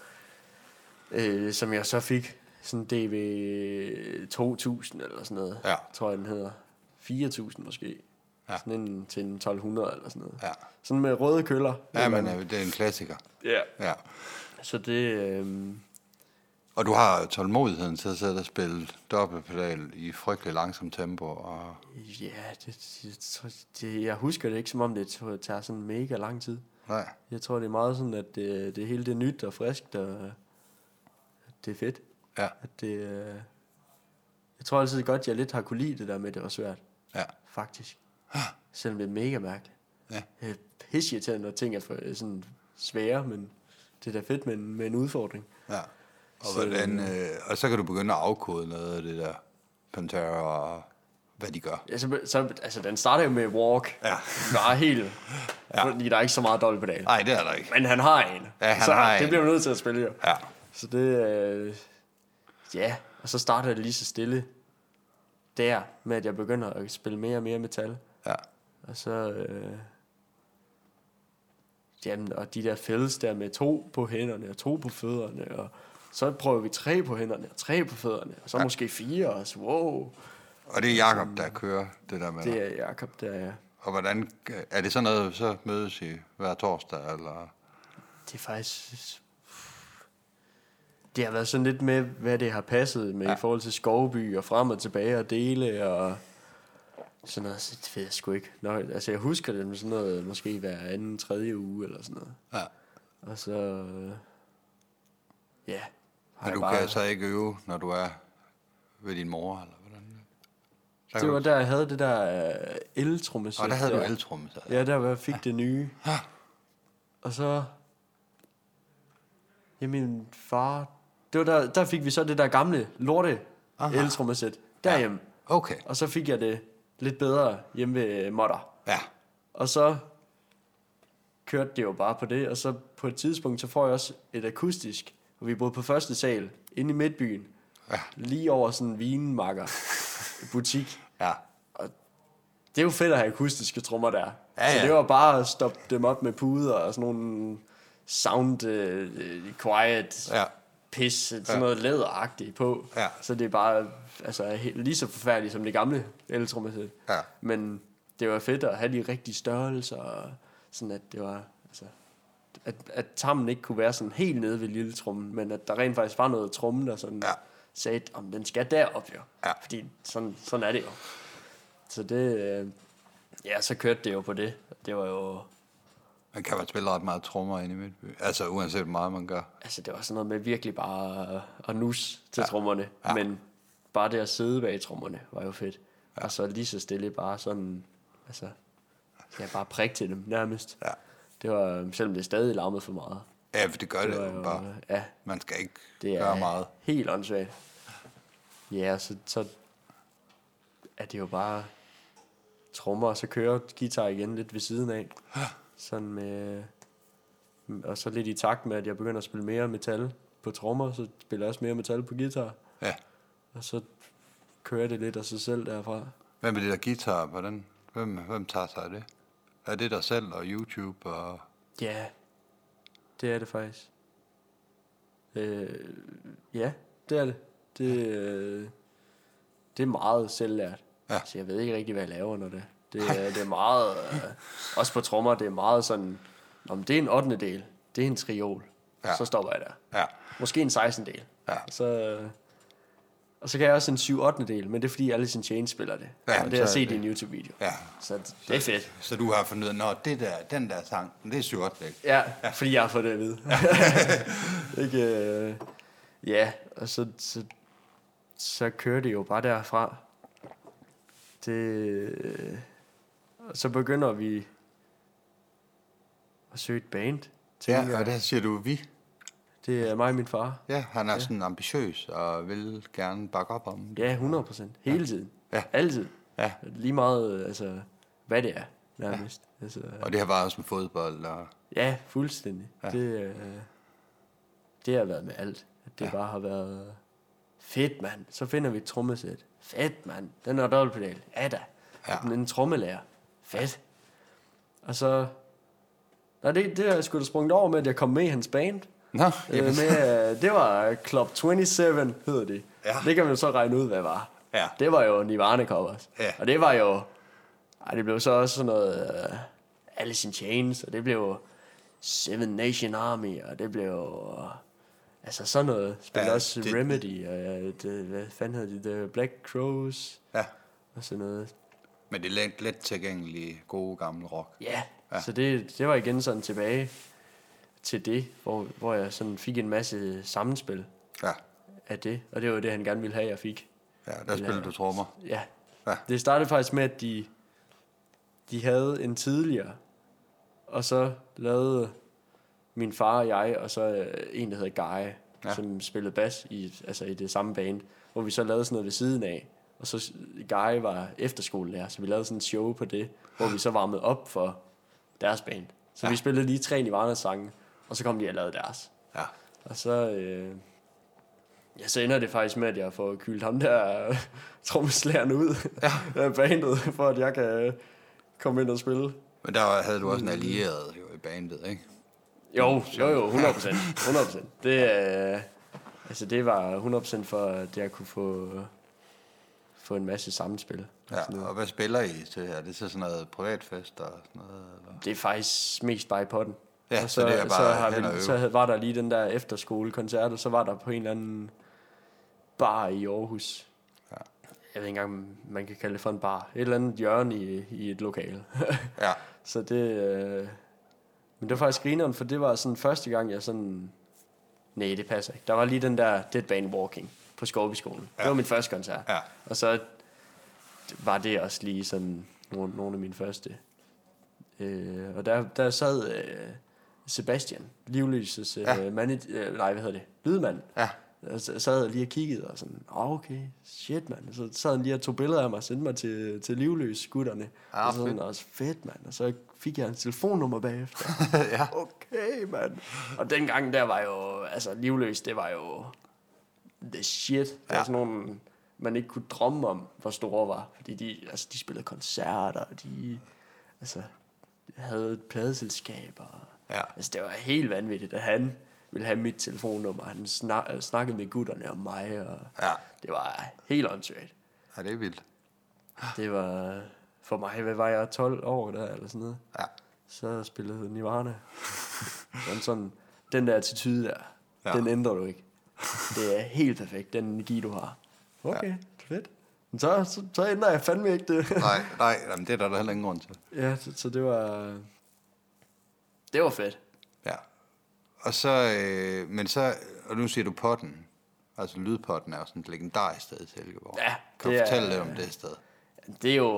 [SPEAKER 2] øh, som jeg så fik. Sådan DV 2000 eller sådan noget,
[SPEAKER 1] Ja.
[SPEAKER 2] tror jeg den hedder. 4000 måske.
[SPEAKER 1] Ja.
[SPEAKER 2] Sådan en til en 1200 eller sådan noget.
[SPEAKER 1] Ja.
[SPEAKER 2] Sådan med røde køller.
[SPEAKER 1] Ja, men øh, det er en klassiker.
[SPEAKER 2] Ja.
[SPEAKER 1] Ja.
[SPEAKER 2] Så det... Øh,
[SPEAKER 1] Og du har tålmodigheden til at sidde og spille dobbeltpedal i frygtelig langsom tempo. Og,
[SPEAKER 2] ja, det, jeg, tror, det, jeg husker det ikke som om, det t- tager sådan mega lang tid.
[SPEAKER 1] nej.
[SPEAKER 2] Jeg tror, det er meget sådan, at øh, det, det hele det er nyt og friskt, og at det er fedt.
[SPEAKER 1] Ja,
[SPEAKER 2] At det, øh, jeg tror altid godt, jeg lidt har kunne lide det der med, at det var svært.
[SPEAKER 1] ja, Ah.
[SPEAKER 2] Faktisk. Selvom det er mega mærkeligt.
[SPEAKER 1] Ja.
[SPEAKER 2] Jeg er pisseirriterende, når ting er for, øh, sådan svære, men det er da fedt med en, med en udfordring.
[SPEAKER 1] ja. Og,
[SPEAKER 2] Så-
[SPEAKER 1] hvordan, øh, og så kan du begynde at afkode noget af det der Pantera og hvad de gør.
[SPEAKER 2] Altså, så, altså den starter jo med walk.
[SPEAKER 1] Ja.
[SPEAKER 2] Bare helt. Ja. Fordi der er ikke så meget dobbelt pedal.
[SPEAKER 1] Nej, det er der ikke.
[SPEAKER 2] Men han har en.
[SPEAKER 1] Ja, han
[SPEAKER 2] så
[SPEAKER 1] har
[SPEAKER 2] det
[SPEAKER 1] en.
[SPEAKER 2] bliver man nødt til at spille, jo.
[SPEAKER 1] Ja,
[SPEAKER 2] Så det, øh, ja, og så starter det lige så stille der, med at jeg begynder at spille mere og mere metal.
[SPEAKER 1] ja,
[SPEAKER 2] Og så, øh, jamen, og de der fælles der med to på hænderne, og to på fødderne, og så prøver vi tre på hænderne, og tre på fødderne, og så ja. måske fire, og så, wow,
[SPEAKER 1] og det er Jakob der kører det der med dig.
[SPEAKER 2] det er Jacob der, ja.
[SPEAKER 1] Og hvordan, er det sådan noget, så mødes I hver torsdag, eller?
[SPEAKER 2] Det er faktisk... Det har været sådan lidt med, hvad det har passet med ja. i forhold til Skovby og frem og tilbage og dele og sådan noget. Så det ved jeg sgu ikke. Nå, altså jeg husker det med sådan noget, måske hver anden, tredje uge eller sådan noget.
[SPEAKER 1] Ja.
[SPEAKER 2] Og så... øh, Ja. har
[SPEAKER 1] Men
[SPEAKER 2] jeg
[SPEAKER 1] du
[SPEAKER 2] bare-
[SPEAKER 1] kan så ikke øve, når du er ved din mor, eller hvordan? Der
[SPEAKER 2] Det var der, jeg havde det der øh, eltrommesæt.
[SPEAKER 1] og der havde du eltrumme, så.
[SPEAKER 2] Ja, der hvor jeg fik det nye.
[SPEAKER 1] Ja.
[SPEAKER 2] Og så... Ja, min far... Det var der, der fik vi så det der gamle lorte
[SPEAKER 1] Aha.
[SPEAKER 2] eltrommesæt derhjemme. Ja.
[SPEAKER 1] Okay,
[SPEAKER 2] Og så fik jeg det lidt bedre hjemme ved øh, Motter.
[SPEAKER 1] ja.
[SPEAKER 2] Og så kørte det jo bare på det. Og så på et tidspunkt, så får jeg også et akustisk. Og vi boede på første sal, inde i midtbyen.
[SPEAKER 1] Ja.
[SPEAKER 2] Lige over sådan en vinmakker butik.
[SPEAKER 1] Ja,
[SPEAKER 2] Det er jo fedt at have akustiske trommer der.
[SPEAKER 1] Ja,
[SPEAKER 2] Ja, ja.
[SPEAKER 1] ja.
[SPEAKER 2] Så det var bare at stoppe dem op med puder og sådan nogle sound øh, øh, quiet
[SPEAKER 1] Ja.
[SPEAKER 2] ja. pis, sådan ja. noget læderagtigt på.
[SPEAKER 1] Ja.
[SPEAKER 2] Så det er bare altså, he- lige så forfærdeligt som det gamle eltrommesæt.
[SPEAKER 1] Ja.
[SPEAKER 2] Men det var fedt at have de rigtige størrelser, og sådan at det var... Altså, at, at tammen ikke kunne være sådan helt nede ved lille trummen, men at der rent faktisk var noget tromme, der sådan
[SPEAKER 1] Ja.
[SPEAKER 2] ja. sagde, om den skal derop jo.
[SPEAKER 1] Ja.
[SPEAKER 2] Fordi sådan, sådan er det jo. Så det, øh, ja, så kørte det jo på det. Det var jo,
[SPEAKER 1] man kan vel spille ret meget trommer inde i Midtby. Altså uanset hvor meget man gør.
[SPEAKER 2] altså det var sådan noget med virkelig bare øh, at nus til ja. trommerne, ja. men bare det at sidde bag trommerne var jo fedt. Ja. Og så lige så stille bare sådan, altså, ja, bare prik til dem nærmest.
[SPEAKER 1] Ja.
[SPEAKER 2] Det var, øh, selvom det stadig larmede for meget.
[SPEAKER 1] Ja, for det gør det,
[SPEAKER 2] var
[SPEAKER 1] det jo bare.
[SPEAKER 2] øh, ja,
[SPEAKER 1] Man skal ikke
[SPEAKER 2] Det er
[SPEAKER 1] gøre meget.
[SPEAKER 2] helt åndssvagt. Ja, så, så er det jo bare trommer, og så kører guitar igen lidt ved siden af. Sådan med, og så lidt i takt med, at jeg begynder at spille mere metal på trommer, så spiller jeg også mere metal på guitar.
[SPEAKER 1] Ja.
[SPEAKER 2] Og så kører jeg det lidt af sig selv derfra.
[SPEAKER 1] Hvem er det der guitar? Hvordan? Hvem, hvem tager sig af det? Er det dig selv og YouTube og...
[SPEAKER 2] Ja, det er det faktisk. Øh, ja, det er det. Det, øh, det er meget selvlært.
[SPEAKER 1] Ja.
[SPEAKER 2] Så jeg ved ikke rigtig, hvad jeg laver, når det det, er- det er meget, øh, også på trommer, det er meget sådan, om det er en 8. del, det er en triol,
[SPEAKER 1] Ja.
[SPEAKER 2] ja. så stopper jeg der.
[SPEAKER 1] Ja,
[SPEAKER 2] Måske en 16. del.
[SPEAKER 1] Ja.
[SPEAKER 2] Så, øh, og så kan jeg også en 7. 8. del, men det er fordi Alice in Chains spiller det.
[SPEAKER 1] Ja,
[SPEAKER 2] Ja,
[SPEAKER 1] men
[SPEAKER 2] og det har jeg
[SPEAKER 1] så er
[SPEAKER 2] set i
[SPEAKER 1] det-
[SPEAKER 2] en YouTube-video.
[SPEAKER 1] ja.
[SPEAKER 2] Så det, det er fedt.
[SPEAKER 1] Så du har fundet ud af, "Nå, det der, den der sang, det er sjovt, ikke?
[SPEAKER 2] Ja, fordi jeg har fået det at vide. ikke, øh, ja, og så, så, så kører det jo bare derfra. Det, øh, og så begynder vi at søge et band. tænker
[SPEAKER 1] Ja,
[SPEAKER 2] jeg.
[SPEAKER 1] og der siger du vi.
[SPEAKER 2] det er mig og min far.
[SPEAKER 1] Ja, han er ja. sådan ambitiøs og vil gerne bakke op om det.
[SPEAKER 2] Ja, 100 procent. Hele tiden.
[SPEAKER 1] Ja.
[SPEAKER 2] Altid.
[SPEAKER 1] Ja.
[SPEAKER 2] Lige meget, altså, hvad det er, nærmest. Ja, altså,
[SPEAKER 1] Og det har været også med fodbold og...
[SPEAKER 2] ja fuldstændig. Ja. Det, øh, det har været med alt. At det ja. bare har været fedt, mand. Så finder vi et trommesæt. Fedt, mand. Den er dobbeltpedal. Ja da.
[SPEAKER 1] Ja.
[SPEAKER 2] En, en trommelærer. Fedt. Og så... Nå, det, det har jeg sgu da sprunget over med, at jeg kom med i hans band.
[SPEAKER 1] Nå,
[SPEAKER 2] Øh,
[SPEAKER 1] jamen,
[SPEAKER 2] med, øh, det var Club 27, hedder de.
[SPEAKER 1] Ja.
[SPEAKER 2] Det kan man jo så regne ud, hvad det var.
[SPEAKER 1] Ja.
[SPEAKER 2] Det var jo Nirvana covers.
[SPEAKER 1] Ja.
[SPEAKER 2] Og det var øh, jo... Ej, det blev så også sådan noget... Uh, Alice in Chains, og det blev... Seven Nation Army, og det blev... øh, Altså sådan noget. Spillede
[SPEAKER 1] Ja,
[SPEAKER 2] ja, også
[SPEAKER 1] det-
[SPEAKER 2] det, Remedy, og øh, det, hvad fanden hedder det? The Black Crows,
[SPEAKER 1] Ja,
[SPEAKER 2] og sådan noget.
[SPEAKER 1] men det er let, let tilgængelige, gode, gamle rock.
[SPEAKER 2] Ja, ja. så det, det var igen sådan tilbage til det, hvor, hvor jeg sådan fik en masse sammenspil
[SPEAKER 1] Ja,
[SPEAKER 2] af det. Og det var det, han gerne ville have, jeg fik.
[SPEAKER 1] ja der spiller du trommer.
[SPEAKER 2] Ja.
[SPEAKER 1] Ja.
[SPEAKER 2] ja. Det startede faktisk med, at de, de havde en tidligere, og så lavede min far og jeg, og så øh, en, der hedder Guy,
[SPEAKER 1] Ja.
[SPEAKER 2] ja. som spillede bas i, et- altså i det samme band, hvor vi så lavede sådan noget ved siden af. Og så s- Guy var efterskolelærer, så vi lavede sådan et show på det, hvor vi så varmede op for deres band. Så ja. vi spillede lige tre Nirvana's sange, og så kom de og lavede deres.
[SPEAKER 1] Ja,
[SPEAKER 2] Og så, øh, ja, så ender det faktisk med, at jeg får kyldt ham der trommeslæren ud ja. af bandet, for at jeg kan øh, komme ind og spille.
[SPEAKER 1] men der havde du også en allieret jo, i bandet, ikke?
[SPEAKER 2] Jo, jo, jo, 100 procent. 100 procent. Det, øh, altså, det var 100 procent for, at jeg kunne få, få en masse sammenspil. og sådan
[SPEAKER 1] Ja,
[SPEAKER 2] noget.
[SPEAKER 1] og hvad spiller I til her? Det er så sådan noget privatfest og sådan noget? Eller?
[SPEAKER 2] Det er faktisk mest bare i potten.
[SPEAKER 1] Ja,
[SPEAKER 2] Og
[SPEAKER 1] så det er bare
[SPEAKER 2] så, har
[SPEAKER 1] hen og
[SPEAKER 2] vi,
[SPEAKER 1] øve.
[SPEAKER 2] så havde- var der lige den der efterskolekoncert, og så var der på en eller anden bar i Aarhus.
[SPEAKER 1] Ja.
[SPEAKER 2] Jeg ved ikke engang, om man kan kalde det for en bar. Et eller andet hjørne i, i et lokale.
[SPEAKER 1] Ja,
[SPEAKER 2] så det... Øh... Men det var faktisk grineren, for det var sådan første gang, jeg sådan... Nej, det passer ikke. Der var lige den der Deadbane Walking på Skovbyskolen. Ja. Det var min første koncert.
[SPEAKER 1] Ja.
[SPEAKER 2] Og så var det også lige sådan nogle, nogle af mine første. Øh, og der, der sad øh, Sebastian, livlysets øh, ja. manage, øh, nej, hvad hedder det, lydmand.
[SPEAKER 1] Ja.
[SPEAKER 2] Og så sad jeg lige og kiggede og sådan, oh, okay, shit mand. Så sad han lige og tog billeder af mig og sendte mig til, til livløs gutterne.
[SPEAKER 1] Ah,
[SPEAKER 2] og så
[SPEAKER 1] fedt.
[SPEAKER 2] sådan, også fedt mand. Og så fik jeg hans telefonnummer bagefter.
[SPEAKER 1] ja.
[SPEAKER 2] okay mand. Og dengang der var jo, altså livløs, det var jo the shit. Det ja. var sådan nogle, man ikke kunne drømme om, hvor store var. Fordi de, altså, de spillede koncerter, og de altså, havde et pladeselskab. Og,
[SPEAKER 1] Ja.
[SPEAKER 2] Altså, det var helt vanvittigt, at han ville have mit telefonnummer. Han snak, øh, snakkede med gutterne om mig, og
[SPEAKER 1] Ja.
[SPEAKER 2] det var helt åndssvagt.
[SPEAKER 1] ja, det er vildt.
[SPEAKER 2] Det var for mig, hvad var jeg, 12 år der, eller sådan noget.
[SPEAKER 1] Ja.
[SPEAKER 2] Så spillede Nirvana. Sådan, sådan, den der attitude der,
[SPEAKER 1] Ja.
[SPEAKER 2] ja. den ændrer du ikke. Det er helt perfekt, den energi, du har. Okay, ja. fedt. Men så, så, så ændrer jeg fandme ikke det.
[SPEAKER 1] Nej, nej, jamen, det er der, der heller ingen grund til.
[SPEAKER 2] ja, så, så det var... Det var fedt.
[SPEAKER 1] Ja. Og så, øh, men så, og nu siger du potten. Altså lydpotten er jo sådan et legendarisk sted i Silkeborg.
[SPEAKER 2] Ja,
[SPEAKER 1] Kan du
[SPEAKER 2] det er-
[SPEAKER 1] fortælle lidt om det sted?
[SPEAKER 2] Det er jo...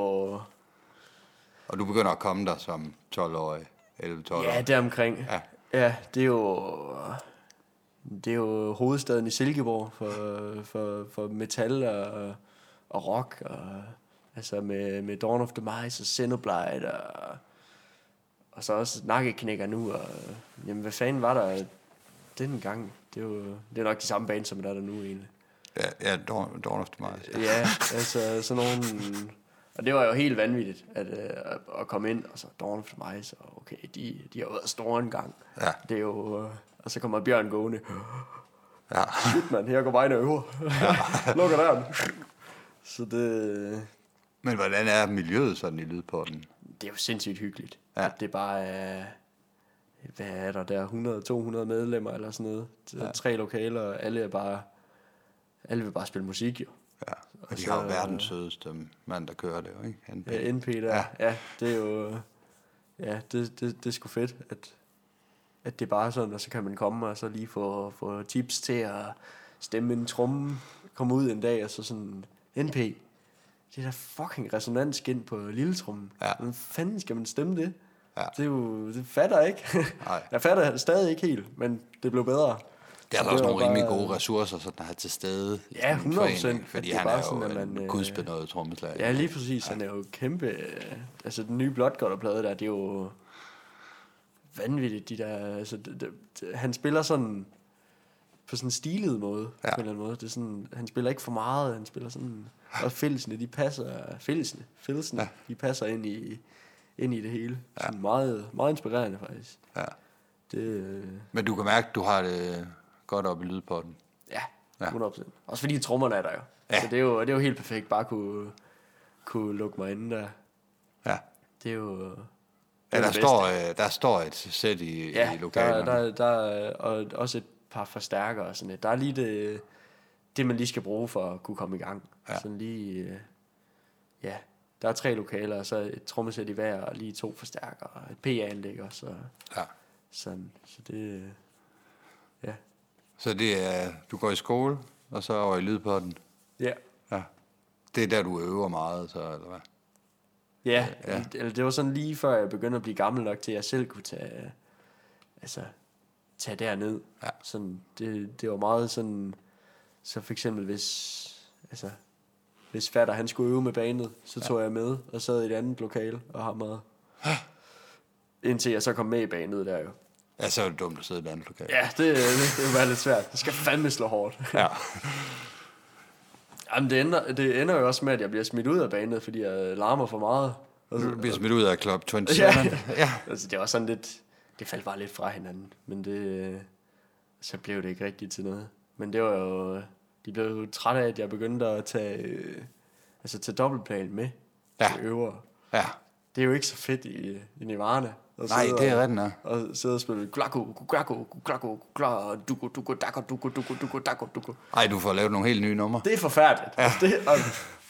[SPEAKER 1] Og du begynder at komme der som 12-årig, 11-12-årig.
[SPEAKER 2] Ja, deromkring.
[SPEAKER 1] Ja.
[SPEAKER 2] Ja. ja, det er jo... Det er jo hovedstaden i Silkeborg for, for, for metal og, og rock. Og, altså med, med Dawn of the Mice og Xenoblade og, og så også Nakkeknækker nu. Og, jamen, hvad fanden var der dengang? Det er jo det er nok de samme band, som der er der nu egentlig.
[SPEAKER 1] Ja, ja Dawn, Dawn of the Mice.
[SPEAKER 2] Ja, altså sådan nogle... Og det var jo helt vanvittigt at, øh, at komme ind, og så Dawn of the Mice, og okay, de, de har jo været store engang.
[SPEAKER 1] Ja.
[SPEAKER 2] Det er jo... Øh, og så kommer Bjørn gående.
[SPEAKER 1] Ja.
[SPEAKER 2] Shit, mand, her går vejen over. Lukker døren. Så det,
[SPEAKER 1] Men hvordan er miljøet sådan i lydpotten?
[SPEAKER 2] det er jo sindssygt hyggeligt.
[SPEAKER 1] Ja.
[SPEAKER 2] Ja. At det er bare er... Hvad er der der? 100-200 medlemmer eller sådan noget. Ja. Tre lokaler, og alle er bare... Alle vil bare spille musik, jo.
[SPEAKER 1] Ja. Og de
[SPEAKER 2] Altså,
[SPEAKER 1] har jo verdens sødeste mand, der kører det jo, ikke? Han,
[SPEAKER 2] Ja, NP der.
[SPEAKER 1] Ja.
[SPEAKER 2] Ja. ja, det er jo... Ja, det, det, det er sgu fedt, at, at det er bare sådan, og så kan man komme og så lige få, få tips til at stemme en tromme, komme ud en dag og så sådan, NP, det er der fucking resonansskin på lille trommen.
[SPEAKER 1] Ja.
[SPEAKER 2] Hvordan fanden skal man stemme det?
[SPEAKER 1] Ja.
[SPEAKER 2] Det, er jo, det fatter jeg ikke.
[SPEAKER 1] Nej.
[SPEAKER 2] Jeg fatter det stadig ikke helt, men det blev bedre.
[SPEAKER 1] Der er
[SPEAKER 2] Så
[SPEAKER 1] der også
[SPEAKER 2] var
[SPEAKER 1] nogle rimelig
[SPEAKER 2] bare-
[SPEAKER 1] gode ressourcer, sådan at have til stede i
[SPEAKER 2] Ja,
[SPEAKER 1] sådan en
[SPEAKER 2] 100%,
[SPEAKER 1] forening,
[SPEAKER 2] at
[SPEAKER 1] Fordi
[SPEAKER 2] det er
[SPEAKER 1] han
[SPEAKER 2] bare
[SPEAKER 1] er jo
[SPEAKER 2] sådan, at man,
[SPEAKER 1] en
[SPEAKER 2] øh,
[SPEAKER 1] gudsbenået trommeslager.
[SPEAKER 2] Ja, lige præcis. Han er jo kæmpe... øh, Altså, den nye Blotgotterplade der, det er jo vanvittigt, de der... Altså, det, det, det- han spiller sådan på sådan en stilet måde, ja. på en eller anden måde. Det er sådan, han spiller ikke for meget, han spiller sådan... Og fællesene, de passer... Fællesene, fællesene, ja. de passer ind i, ind i det hele. Ja. Sådan meget, meget inspirerende, faktisk.
[SPEAKER 1] Ja.
[SPEAKER 2] Det, øh,
[SPEAKER 1] Men du kan mærke, at du har det godt op i lydpotten.
[SPEAKER 2] Ja,
[SPEAKER 1] Ja.
[SPEAKER 2] 100%. Også fordi trommerne er der jo.
[SPEAKER 1] Ja.
[SPEAKER 2] Ja. Så det er jo, det er jo helt perfekt bare at kunne, kunne lukke mig inde der.
[SPEAKER 1] Ja.
[SPEAKER 2] Det er jo... øh,
[SPEAKER 1] Ja,
[SPEAKER 2] er
[SPEAKER 1] der,
[SPEAKER 2] det
[SPEAKER 1] står, øh, der står et sæt i, ja, i
[SPEAKER 2] der,
[SPEAKER 1] lokalerne. Der, der...
[SPEAKER 2] der, der er og også et par forstærkere og sådan lidt. Der er lige det, det man lige skal bruge for at kunne komme i gang. Ja. Sådan lige, øh, ja, der er tre lokaler, og så et trommesæt i hver, og lige to forstærkere, og et PA-anlæg også. Og
[SPEAKER 1] Ja.
[SPEAKER 2] sådan. Så det, øh, ja.
[SPEAKER 1] Så det er, du går i skole, og så over i lydpotten.
[SPEAKER 2] Ja.
[SPEAKER 1] Ja. Det er der, du øver meget, så, eller hvad?
[SPEAKER 2] Ja, ja. Eller det var sådan lige før jeg begyndte at blive gammel nok til, at jeg selv kunne tage, øh, altså, tage derned.
[SPEAKER 1] Ja.
[SPEAKER 2] Sådan, det, det var meget sådan, så for eksempel hvis, altså, hvis fatter han skulle øve med banet, så tog jeg med og sad i et andet lokale og hamrede. Indtil jeg så kom med i banet der jo.
[SPEAKER 1] Ja, så er det dumt at sidde i et andet lokal.
[SPEAKER 2] Ja, det, det, det var lidt svært. Det skal fandme slå hårdt.
[SPEAKER 1] ja.
[SPEAKER 2] Jamen, det ender, det ender jo også med, at jeg bliver smidt ud af banet, fordi jeg larmer for meget. Og så-
[SPEAKER 1] Du bliver smidt ud af Club 27.
[SPEAKER 2] Ja.
[SPEAKER 1] ja.
[SPEAKER 2] Altså, det var sådan lidt... Det faldt bare lidt fra hinanden, men det... øh, Så blev det ikke rigtigt til noget. Men det var jo... øh, De blev jo trætte af, at jeg begyndte at tage... øh, Altså, tage dobbeltplan med
[SPEAKER 1] Ja.
[SPEAKER 2] til øvere.
[SPEAKER 1] ja.
[SPEAKER 2] Det er jo ikke så fedt i, øh, i Nirvana. at
[SPEAKER 1] Nej,
[SPEAKER 2] sidde
[SPEAKER 1] det er
[SPEAKER 2] og-
[SPEAKER 1] rigtigt nok.
[SPEAKER 2] Og sidde og spille glakko, glakko, glakko, glakko, duko, duko, dako, duko, duko, duko, dako, duko.
[SPEAKER 1] Ej, du får lavet nogle helt nye numre.
[SPEAKER 2] Det er forfærdeligt. Ja. Det, og,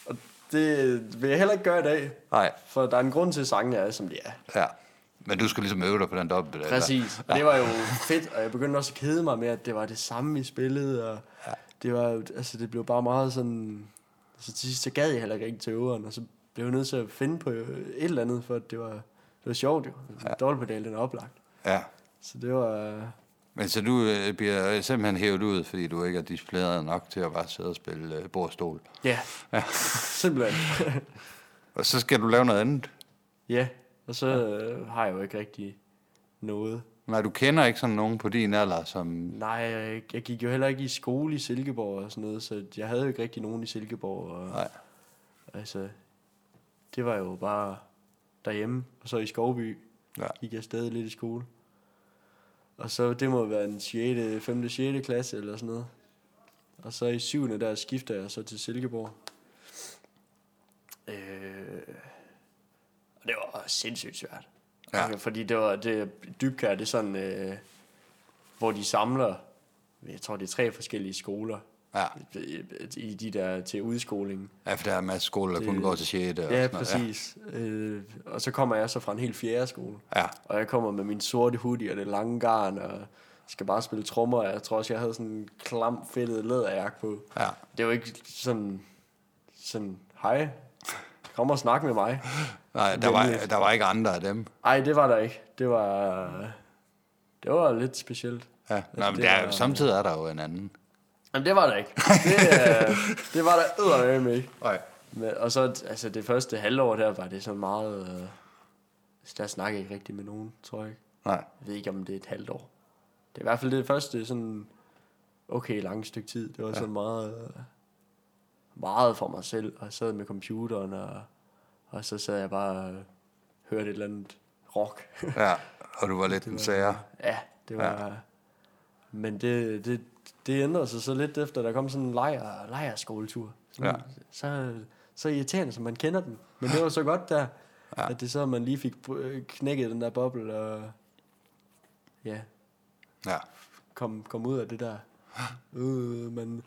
[SPEAKER 2] og det vil jeg heller ikke gøre i dag.
[SPEAKER 1] Nej.
[SPEAKER 2] For der er en grund til, at sangene er, som de er.
[SPEAKER 1] Ja. Men du skulle ligesom øve dig på den dobbelt. eller?
[SPEAKER 2] Præcis. Altså, Og det var jo fedt, og jeg begyndte også at kede mig med, at det var det samme, vi spillede, og det, var, jo- altså, det blev bare meget sådan... Så til sidst, så gad jeg heller ikke rigtig til øveren, og så blev jeg nødt til at finde på et eller andet, for at det var, det var sjovt jo. Ja. Dobbeltpedal, den er oplagt.
[SPEAKER 1] Ja.
[SPEAKER 2] Så det var...
[SPEAKER 1] Men så du øh, bliver simpelthen hævet ud, fordi du ikke er disciplineret nok til at bare sidde og spille øh, bordstol.
[SPEAKER 2] Ja, ja. simpelthen.
[SPEAKER 1] Og så skal du lave noget andet.
[SPEAKER 2] ja, og så øh, har jeg jo ikke rigtig noget.
[SPEAKER 1] Nej, du kender ikke sådan nogen på din alder, som...
[SPEAKER 2] Nej, jeg, jeg gik jo heller ikke i skole i Silkeborg og sådan noget, så jeg havde jo ikke rigtig nogen i Silkeborg. Og,
[SPEAKER 1] Nej.
[SPEAKER 2] Altså, det var jo bare derhjemme, og så i Skovby
[SPEAKER 1] Ja.
[SPEAKER 2] gik jeg stadig lidt i skole. Og så, det må være en 6., 5. 6. klasse eller sådan noget. Og så i 7. der skifter jeg så til Silkeborg. Øh, og det var sindssygt svært.
[SPEAKER 1] Ja.
[SPEAKER 2] Altså, Fordi det var, det dybkær, det er sådan, øh, hvor de samler, jeg tror det er tre forskellige skoler,
[SPEAKER 1] Ja.
[SPEAKER 2] i de der til udskolingen.
[SPEAKER 1] ja, for der er en masse skole, der kun
[SPEAKER 2] Det-
[SPEAKER 1] går til 6. og
[SPEAKER 2] Ja,
[SPEAKER 1] sådan noget.
[SPEAKER 2] præcis. Ja. Øh, og så kommer jeg så fra en helt fjerde skole.
[SPEAKER 1] Ja.
[SPEAKER 2] Og jeg kommer med min sorte hoodie og det lange garn, og skal bare spille trommer. og Jeg tror også, jeg havde sådan en klam, fedtet læderjakke på.
[SPEAKER 1] Ja.
[SPEAKER 2] Det var ikke sådan, sådan, hej, kom og snak med mig.
[SPEAKER 1] Nej, der var,
[SPEAKER 2] Venligt.
[SPEAKER 1] der var ikke andre af dem.
[SPEAKER 2] Ej, det var der ikke. Det var, det var lidt specielt.
[SPEAKER 1] Ja. Nå, men
[SPEAKER 2] det
[SPEAKER 1] der, er-
[SPEAKER 2] var-
[SPEAKER 1] samtidig er der jo en anden.
[SPEAKER 2] Jamen, det var der ikke. Det, øh, det var der eddermame ikke.
[SPEAKER 1] Nej.
[SPEAKER 2] Men, og så, altså det første halvår der, var det sådan meget, øh, altså, der snakkede jeg ikke rigtig med nogen, tror jeg ikke.
[SPEAKER 1] Nej.
[SPEAKER 2] Jeg ved ikke, om det er et halvt år. Det er i hvert fald det første sådan okay langt stykke tid. Det var ja. sådan meget, øh, meget for mig selv. Og jeg sad med computeren, og, og så sad jeg bare og hørte et eller andet rock.
[SPEAKER 1] Ja, og du var lidt en sager.
[SPEAKER 2] ja, det var... Ja. Men det, det, det ændrede sig så lidt efter, der kom sådan en lejer, lejerskoletur. Sådan,
[SPEAKER 1] Ja.
[SPEAKER 2] så, så irriterende, som man kender den. Men det var så godt der, ja. at det så, man lige fik øh, knækket den der boble, og ja,
[SPEAKER 1] Ja.
[SPEAKER 2] kom, kom ud af det der. Øh, man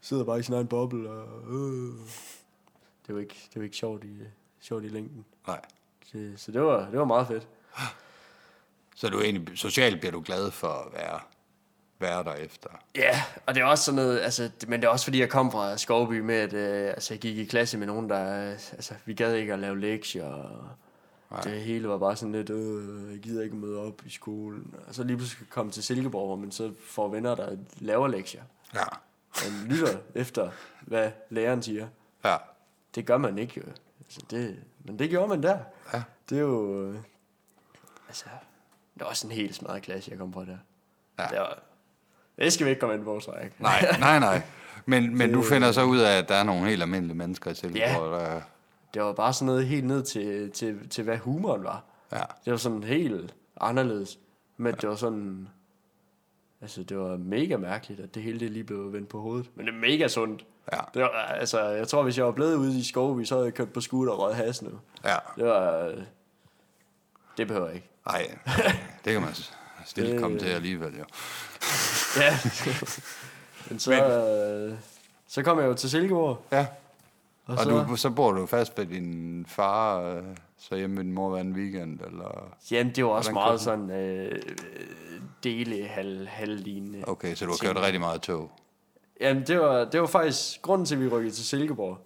[SPEAKER 2] sidder bare i sin egen boble, og øh. Det var ikke, det var ikke sjovt, i, sjovt i længden.
[SPEAKER 1] Nej.
[SPEAKER 2] Det, så det var, det var meget fedt.
[SPEAKER 1] Så du er egentlig, socialt bliver du glad for at være, være der efter.
[SPEAKER 2] Ja, yeah, og det er også sådan noget, altså, det- men det er også fordi, jeg kom fra Skovby med, at øh, altså, jeg gik i klasse med nogen, der, øh, altså, vi gad ikke at lave lektier, og det hele var bare sådan lidt, øh, jeg gider ikke møde op i skolen. Og så lige pludselig kom til Silkeborg, hvor man så får venner, der laver lektier.
[SPEAKER 1] Ja.
[SPEAKER 2] Man lytter efter, hvad læreren siger.
[SPEAKER 1] Ja.
[SPEAKER 2] Det gør man ikke jo. Altså, det, men det gjorde man der.
[SPEAKER 1] Ja.
[SPEAKER 2] Det er jo... øh, Altså, det var også en helt smadret klasse, jeg kom fra der.
[SPEAKER 1] Ja.
[SPEAKER 2] Det, var, det skal vi ikke komme ind på, tror jeg ikke.
[SPEAKER 1] Nej, nej, nej. Men, men du finder så ud af, at der er nogle helt almindelige mennesker i Silkeborg, ja. der...
[SPEAKER 2] Det var bare sådan noget helt ned til, til, til hvad humoren var.
[SPEAKER 1] Ja.
[SPEAKER 2] Det var sådan helt anderledes. Men ja. det var sådan... Altså, det var mega mærkeligt, at det hele det lige blev vendt på hovedet. Men det er mega sundt.
[SPEAKER 1] Ja.
[SPEAKER 2] Det var, altså, jeg tror, hvis jeg var blevet ude i Skovby, så havde jeg kørt på skuter og røget has nu.
[SPEAKER 1] Ja.
[SPEAKER 2] Det var... øh, Det behøver jeg ikke.
[SPEAKER 1] Nej, det kan man s- stille
[SPEAKER 2] Det-
[SPEAKER 1] komme til alligevel, jo.
[SPEAKER 2] Ja. Men så, øh, så kom jeg jo til Silkeborg.
[SPEAKER 1] Ja,
[SPEAKER 2] Og,
[SPEAKER 1] og,
[SPEAKER 2] så,
[SPEAKER 1] du, så bor du fast ved din far, øh, så hjemme ved din mor hver en weekend, eller...
[SPEAKER 2] Jamen, det var også
[SPEAKER 1] Hvordan
[SPEAKER 2] meget
[SPEAKER 1] kørte
[SPEAKER 2] sådan øh, dele hal, halvlignende.
[SPEAKER 1] Okay, så du har kørt rigtig meget tog.
[SPEAKER 2] Jamen, det var, det var faktisk grunden til, at vi rykkede til Silkeborg.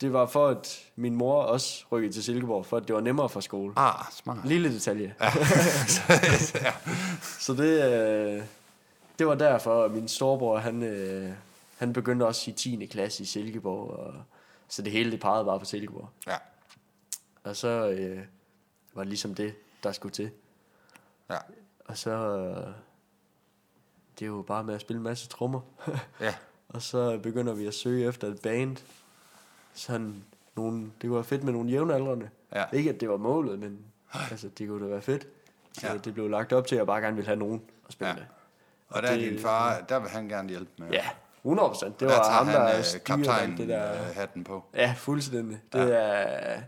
[SPEAKER 2] Det var for, at min mor også rykkede til Silkeborg, for at det var nemmere for skole.
[SPEAKER 1] Ah, smart.
[SPEAKER 2] Lille detalje. Ja. så det, øh, det var derfor, at min storebror, han, øh, han begyndte også i 10. klasse i Silkeborg. Og, så det hele, det pegede bare på Silkeborg.
[SPEAKER 1] Ja,
[SPEAKER 2] Og så øh, var det ligesom det, der skulle til.
[SPEAKER 1] ja,
[SPEAKER 2] Og så... Øh, det er jo bare med at spille en masse trommer.
[SPEAKER 1] ja.
[SPEAKER 2] og så begynder vi at søge efter et band. Sådan nogle, det kunne være fedt med nogle jævnaldrende.
[SPEAKER 1] Ja.
[SPEAKER 2] Ikke at det var målet, men altså, det kunne da være fedt. Så
[SPEAKER 1] Ja.
[SPEAKER 2] ja. det blev lagt op til, at jeg bare gerne ville have nogen at spille
[SPEAKER 1] Ja.
[SPEAKER 2] ja. med.
[SPEAKER 1] Og der er
[SPEAKER 2] det-
[SPEAKER 1] din far, der vil han gerne hjælpe med.
[SPEAKER 2] Ja, 100 procent. Det
[SPEAKER 1] der
[SPEAKER 2] var
[SPEAKER 1] tager
[SPEAKER 2] ham, der
[SPEAKER 1] han øh,
[SPEAKER 2] styrer alt det der.
[SPEAKER 1] hatten på.
[SPEAKER 2] Ja, fuldstændig. Det er...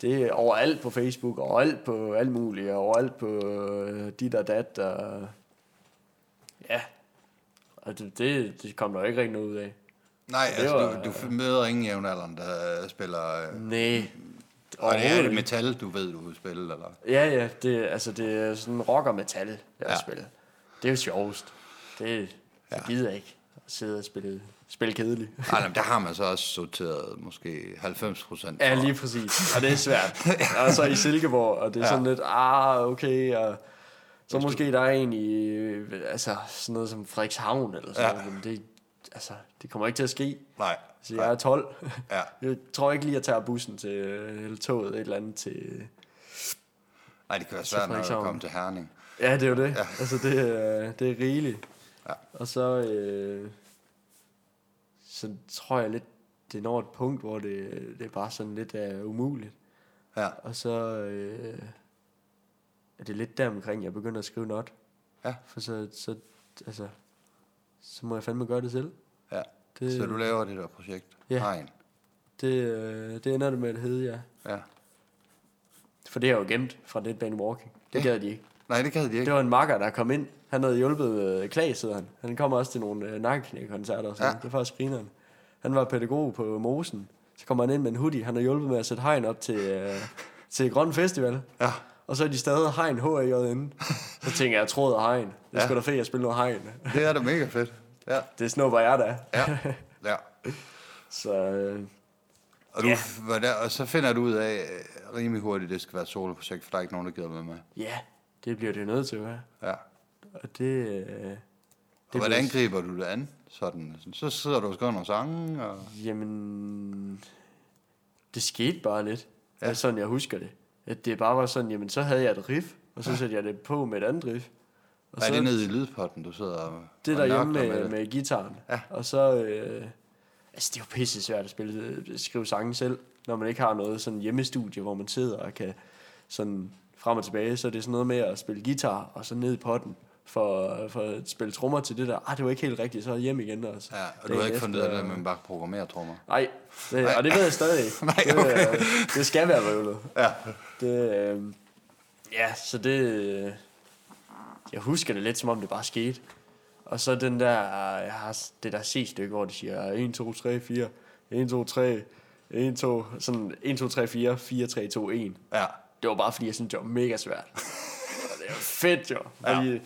[SPEAKER 2] Det er overalt på Facebook, og overalt på alt muligt, og overalt på øh, dit og dat, og... Ja. Og det, det, det kom der jo ikke rigtig noget ud af.
[SPEAKER 1] Nej,
[SPEAKER 2] det
[SPEAKER 1] altså,
[SPEAKER 2] var-
[SPEAKER 1] du, du møder ingen jævnaldrende, der øh, spiller... Øh,
[SPEAKER 2] Nej.
[SPEAKER 1] og det er det metal, du ved, du vil spille, eller?
[SPEAKER 2] Ja, ja, det, altså, det er sådan rock og metal, jeg
[SPEAKER 1] Ja.
[SPEAKER 2] ja. spiller. Det er jo sjovest. Det, det
[SPEAKER 1] Ja.
[SPEAKER 2] gider jeg ikke at sidde og spille, spille kedeligt.
[SPEAKER 1] Nej, men der har man så også sorteret måske 90 procent.
[SPEAKER 2] Ja, lige præcis. Og det er svært. Og så i Silkeborg, og det er ja. sådan lidt, ah, okay, og så måske der er en i, øh, altså sådan noget som Frederikshavn eller sådan
[SPEAKER 1] Ja.
[SPEAKER 2] ja. noget, men det, altså, det kommer ikke til at ske.
[SPEAKER 1] Nej,
[SPEAKER 2] Så jeg er 12.
[SPEAKER 1] Ja.
[SPEAKER 2] Jeg tror ikke lige, jeg tager bussen til, øh, eller toget et eller andet til...
[SPEAKER 1] nej, det kan være
[SPEAKER 2] Så
[SPEAKER 1] svært, når du
[SPEAKER 2] Frederikshavn.
[SPEAKER 1] kommer til Herning.
[SPEAKER 2] Ja, det er jo det. Ja. Altså, det, er- det er rigeligt.
[SPEAKER 1] Ja.
[SPEAKER 2] Og så, øh, så tror jeg lidt, det når et punkt, hvor det, det er bare sådan lidt er umuligt.
[SPEAKER 1] Ja,
[SPEAKER 2] Og så øh, er det lidt der omkring, jeg begynder at skrive not.
[SPEAKER 1] Ja.
[SPEAKER 2] For så, så, altså, så må jeg fandme gøre det selv.
[SPEAKER 1] ja.
[SPEAKER 2] Det-
[SPEAKER 1] Så du laver det der projekt?
[SPEAKER 2] Ja.
[SPEAKER 1] Hegn.
[SPEAKER 2] Det, øh, det ender det med at hedde, ja.
[SPEAKER 1] Ja.
[SPEAKER 2] For det er jo gemt fra Deadbane Walking. Det
[SPEAKER 1] Ja.
[SPEAKER 2] ja. gad de ikke.
[SPEAKER 1] Nej, det kan de
[SPEAKER 2] Det
[SPEAKER 1] ikke.
[SPEAKER 2] var en makker, der kom ind. Han havde hjulpet øh, Klaas, hedder han. Han kom også til nogle øh, nakkeknækoncerter og sådan
[SPEAKER 1] Ja.
[SPEAKER 2] ja. Det er faktisk grineren. Han var pædagog på Mosen. Så kommer han ind med en hoodie. Han har hjulpet med at sætte hegn op til, øh, til Grøn Festival.
[SPEAKER 1] Ja.
[SPEAKER 2] Og så er de stadig hegn h a inde. Så tænker jeg, tråd og hegn. Det er sgu da fedt at spille noget hegn.
[SPEAKER 1] Det er da mega fedt. Ja,
[SPEAKER 2] Det snupper jeg da.
[SPEAKER 1] ja, ja.
[SPEAKER 2] Så øh,
[SPEAKER 1] Og, du,
[SPEAKER 2] Ja.
[SPEAKER 1] var der, og så finder du ud af øh, rimelig hurtigt, at det skal være et soloprojekt, for der er ikke nogen, der gider med mig.
[SPEAKER 2] ja, det bliver det jo nødt til at være.
[SPEAKER 1] Ja.
[SPEAKER 2] Og det... Øh,
[SPEAKER 1] Og
[SPEAKER 2] det
[SPEAKER 1] hvordan
[SPEAKER 2] bliver-
[SPEAKER 1] griber du det an? Sådan, så sidder du og skriver nogle sange, og...
[SPEAKER 2] Jamen... Det skete bare lidt.
[SPEAKER 1] Ja.
[SPEAKER 2] Ja. Altså, sådan, jeg husker det. At det bare var sådan, jamen så havde jeg et riff, og så satte jeg det på med et andet riff. Og
[SPEAKER 1] Hvad er
[SPEAKER 2] så
[SPEAKER 1] det nede i lydpotten, du sidder og og
[SPEAKER 2] det derhjemme
[SPEAKER 1] nørkler
[SPEAKER 2] med, med,
[SPEAKER 1] det?
[SPEAKER 2] med gitaren. Ja. Og så... Øh, altså, det er jo pisse svært at spille, øh, skrive sange selv, når man ikke har noget sådan hjemmestudie, hvor man sidder og kan sådan frem og tilbage. Så er det sådan noget med at spille guitar, og så ned i potten for, for at spille trommer til det der. Ah, det var ikke helt rigtigt, så hjem igen. Og så,
[SPEAKER 1] Ja, og du
[SPEAKER 2] dagen
[SPEAKER 1] har ikke fundet ud af
[SPEAKER 2] efter-
[SPEAKER 1] det, med, at man bare programmerer trommer.
[SPEAKER 2] Nej, det, og det ved jeg stadig ikke.
[SPEAKER 1] Nej,
[SPEAKER 2] det, øh, det skal være vrøvlet. Ja. Det, øh, ja, så det... Øh, jeg husker det lidt, som om det bare skete. Og så den der, øh, jeg har s- det der C-stykke, hvor de siger 1, 2, 3, 4, 1, 2, 3, 1, 2, sådan 1, 2, 3, 4, 4, 3, 2, 1.
[SPEAKER 1] Ja.
[SPEAKER 2] Det var bare fordi, jeg syntes, det var mega svært. Og det er jo fedt, jo. Fordi, ja.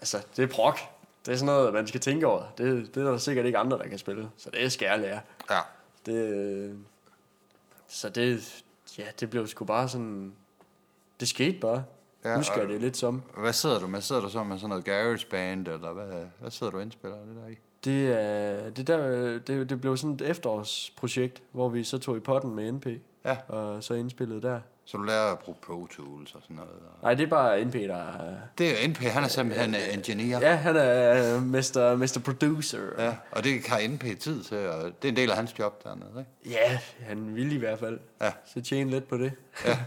[SPEAKER 2] Altså, det er prok. Det er sådan noget, man skal tænke over. Det, det er der sikkert ikke andre, der kan spille. Så det skal jeg lære.
[SPEAKER 1] Ja.
[SPEAKER 2] Det, øh, så det, ja, det blev sgu bare sådan, det skete bare.
[SPEAKER 1] Ja,
[SPEAKER 2] Ja, Husker
[SPEAKER 1] og-
[SPEAKER 2] jeg det lidt som.
[SPEAKER 1] Hvad sidder du med? Sidder du så med sådan noget garageband, eller hvad, hvad sidder du og indspiller det der i?
[SPEAKER 2] Det, er, det, der, øh, det, det blev sådan et efterårsprojekt, hvor vi så tog i potten med NP.
[SPEAKER 1] Ja.
[SPEAKER 2] Og så indspillede der.
[SPEAKER 1] Så du lærer at bruge Pro Tools og sådan noget. og-
[SPEAKER 2] Nej, det er bare NP, der er...
[SPEAKER 1] Det er jo NP, han er simpelthen øh, engineer.
[SPEAKER 2] Ja, han er øh, Mr. Mr. Producer.
[SPEAKER 1] ja. Og det har NP tid til, og det er en del af hans job dernede, ikke?
[SPEAKER 2] Ja, han ville i hvert fald.
[SPEAKER 1] Ja.
[SPEAKER 2] Så tjene lidt på det. Ja. ja.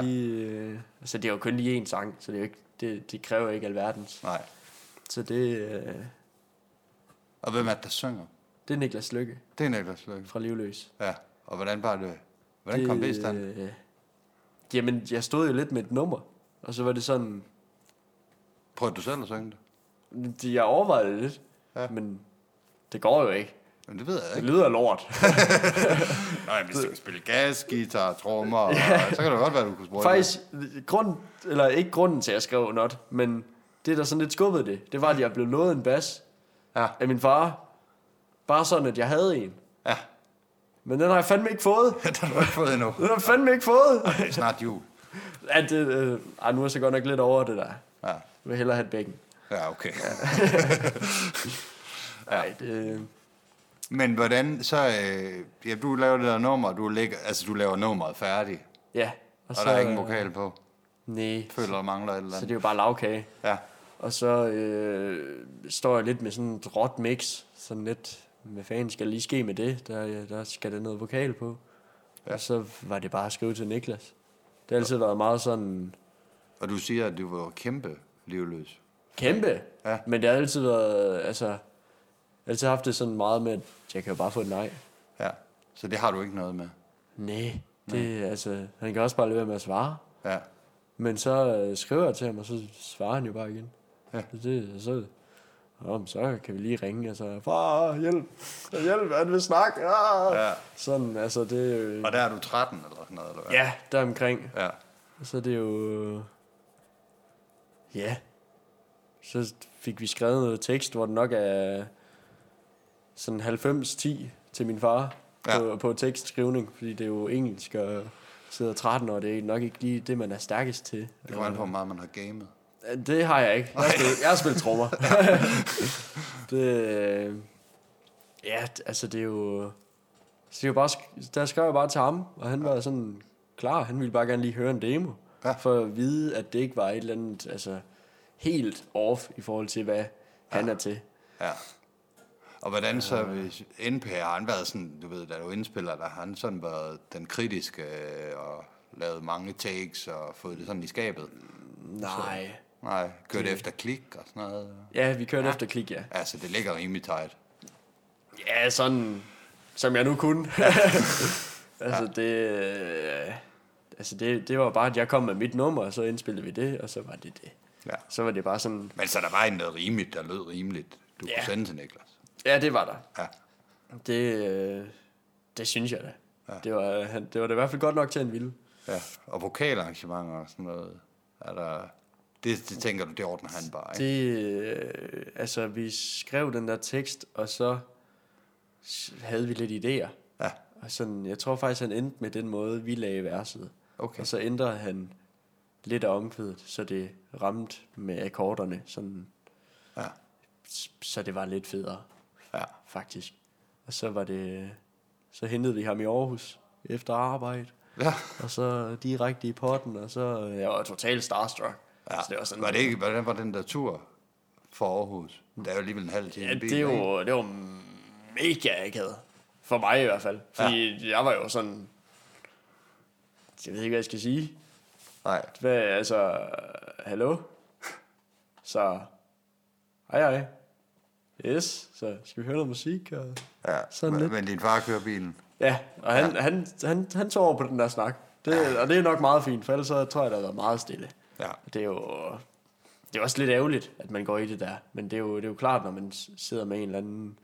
[SPEAKER 2] Lige, øh, altså, det er jo kun lige én sang, så det, er jo ikke, det, det kræver ikke alverdens.
[SPEAKER 1] Nej.
[SPEAKER 2] Så det, øh,
[SPEAKER 1] Og hvem er det, der synger?
[SPEAKER 2] det er Niklas Lykke
[SPEAKER 1] Det er Niklas Løkke.
[SPEAKER 2] fra Livløs.
[SPEAKER 1] Ja. Og hvordan var det? Hvordan kom det i stand?
[SPEAKER 2] øh, Jamen, jeg stod jo lidt med et nummer, og så var det sådan,
[SPEAKER 1] Prøvede du selv at synge det?
[SPEAKER 2] de- jeg overvejede det lidt, ja. men det går jo ikke.
[SPEAKER 1] Jamen, det ved jeg
[SPEAKER 2] Det
[SPEAKER 1] ikke.
[SPEAKER 2] lyder lort.
[SPEAKER 1] Nå, jamen, hvis du kan spille gas, guitar, trommer, ja. så kan det godt være, du kunne sprøjte.
[SPEAKER 2] Faktisk, grund, eller ikke grunden til, at jeg skrev not, men det, der sådan lidt skubbede det, det var, at jeg blev lovet en bas
[SPEAKER 1] Ja.
[SPEAKER 2] af min far. Bare sådan, at jeg havde en.
[SPEAKER 1] Ja.
[SPEAKER 2] Men den har jeg fandme ikke fået.
[SPEAKER 1] Det har du ikke fået endnu.
[SPEAKER 2] Den har jeg fandme ikke fået.
[SPEAKER 1] Det er snart jul.
[SPEAKER 2] At, det, øh, ej, nu er jeg så godt nok lidt over det der. Jeg
[SPEAKER 1] Ja,
[SPEAKER 2] vil hellere have et bækken.
[SPEAKER 1] ja okay.
[SPEAKER 2] Nej, det, øh,
[SPEAKER 1] Men hvordan så... Øh, ja, du laver det der nummer, du, lægger, altså, du laver nummeret færdigt, og,
[SPEAKER 2] ja.
[SPEAKER 1] og der er ingen vokal på.
[SPEAKER 2] Nej,
[SPEAKER 1] Føler, der mangler et eller
[SPEAKER 2] så det
[SPEAKER 1] andet.
[SPEAKER 2] er jo bare lavkage.
[SPEAKER 1] Ja.
[SPEAKER 2] Og så øh, står jeg lidt med sådan et råt mix, sådan lidt, hvad fanden skal der lige ske med det? Der, øh, der skal der noget vokal på. Ja. Og så var det bare at skrive til Niklas. Det har altid været meget sådan
[SPEAKER 1] Og du siger, at du var kæmpe livløs.
[SPEAKER 2] kæmpe,
[SPEAKER 1] Ja.
[SPEAKER 2] men det har altid været, altså, jeg har altid haft det sådan meget med, at jeg kan jo bare få et nej.
[SPEAKER 1] Ja. Så det har du ikke noget med.
[SPEAKER 2] Nej, det er altså, han kan også bare lade være med at svare.
[SPEAKER 1] Ja.
[SPEAKER 2] Men så øh, skriver jeg til ham, og så svarer han jo bare igen.
[SPEAKER 1] Ja.
[SPEAKER 2] Så det, så, Nå, men så kan vi lige ringe, og så, far, hjælp, hjælp, han vil snakke. Ah.
[SPEAKER 1] Ja.
[SPEAKER 2] Sådan, altså det er jo,
[SPEAKER 1] Og der er du 13 eller sådan noget, eller hvad?
[SPEAKER 2] ja, der omkring.
[SPEAKER 1] Ja.
[SPEAKER 2] Så det er jo, øh, ja, så fik vi skrevet noget tekst, hvor det nok er sådan 90-10 til min far
[SPEAKER 1] Ja.
[SPEAKER 2] på, på tekstskrivning, fordi det er jo engelsk, og sidder 13 år, det er nok ikke lige det, man er stærkest til.
[SPEAKER 1] Det kommer an på, hvor meget man har gamet.
[SPEAKER 2] Det har jeg ikke. Jeg har spillet, jeg har spillet trommer. det, øh, ja, d- altså det er jo... Så det er jo bare, sk- der skrev jeg bare til ham, og han var sådan klar. Han ville bare gerne lige høre en demo.
[SPEAKER 1] Ja.
[SPEAKER 2] For at vide, at det ikke var et eller andet altså, helt off i forhold til, hvad han er til.
[SPEAKER 1] Ja. Og hvordan så, hvis NP har han været sådan, du ved, da du indspiller, der har han sådan været den kritiske øh, og lavet mange takes og fået det sådan i skabet?
[SPEAKER 2] Nej.
[SPEAKER 1] Nej, kørt efter klik og sådan noget.
[SPEAKER 2] Ja, vi kørte ja. efter klik, ja.
[SPEAKER 1] Altså, det ligger rimelig tight.
[SPEAKER 2] Ja, sådan som jeg nu kunne. altså, det, øh, altså det, det var bare, at jeg kom med mit nummer, og så indspillede vi det, og så var det det.
[SPEAKER 1] Ja.
[SPEAKER 2] Så var det bare sådan,
[SPEAKER 1] Men så der var en noget rimeligt, der lød rimeligt, du
[SPEAKER 2] Ja.
[SPEAKER 1] kunne sende til Niklas.
[SPEAKER 2] ja, det var der.
[SPEAKER 1] Ja.
[SPEAKER 2] Det, øh, det synes jeg da. Ja. Det, var, øh, han, det var da i hvert fald godt nok til en ville.
[SPEAKER 1] ja. Og vokalarrangementer og sådan noget. Er der, det, det tænker du, det ordner han bare, ikke?
[SPEAKER 2] Det, øh, altså, vi skrev den der tekst, og så s- havde vi lidt idéer.
[SPEAKER 1] Ja.
[SPEAKER 2] Og sådan, jeg tror faktisk, han endte med den måde, vi lagde verset.
[SPEAKER 1] Okay.
[SPEAKER 2] Og så ændrede han lidt af omkvædet, så det ramte med akkorderne, sådan,
[SPEAKER 1] Ja.
[SPEAKER 2] s- så det var lidt federe,
[SPEAKER 1] Ja.
[SPEAKER 2] faktisk. Og så var det, så hentede vi ham i Aarhus efter arbejde,
[SPEAKER 1] ja.
[SPEAKER 2] og så direkte i potten, og så, jeg var totalt starstruck.
[SPEAKER 1] Ja.
[SPEAKER 2] Så det var sådan,
[SPEAKER 1] var det ikke, hvordan var den der tur for Aarhus? Der er jo alligevel en halv time
[SPEAKER 2] Ja,
[SPEAKER 1] i bil,
[SPEAKER 2] det
[SPEAKER 1] ikke?
[SPEAKER 2] var, det var mega akavet. For mig i hvert fald. Fordi ja. jeg var jo sådan... Jeg ved ikke, hvad jeg skal sige.
[SPEAKER 1] Nej,
[SPEAKER 2] Hvad, altså... Hallo? Så... Hej, hej. Yes, så skal vi høre noget musik? Og...
[SPEAKER 1] ja.
[SPEAKER 2] Sådan
[SPEAKER 1] men,
[SPEAKER 2] lidt.
[SPEAKER 1] men din far kører bilen.
[SPEAKER 2] Ja, og han, ja. Han, han, han tog over på den der snak. Det, ja. Og det er nok meget fint, for ellers så tror jeg, der har været meget stille.
[SPEAKER 1] Ja.
[SPEAKER 2] Og Det er jo... Det er også lidt ærgerligt, at man går i det der. Men det er jo, det er jo klart, når man s- sidder med en eller anden...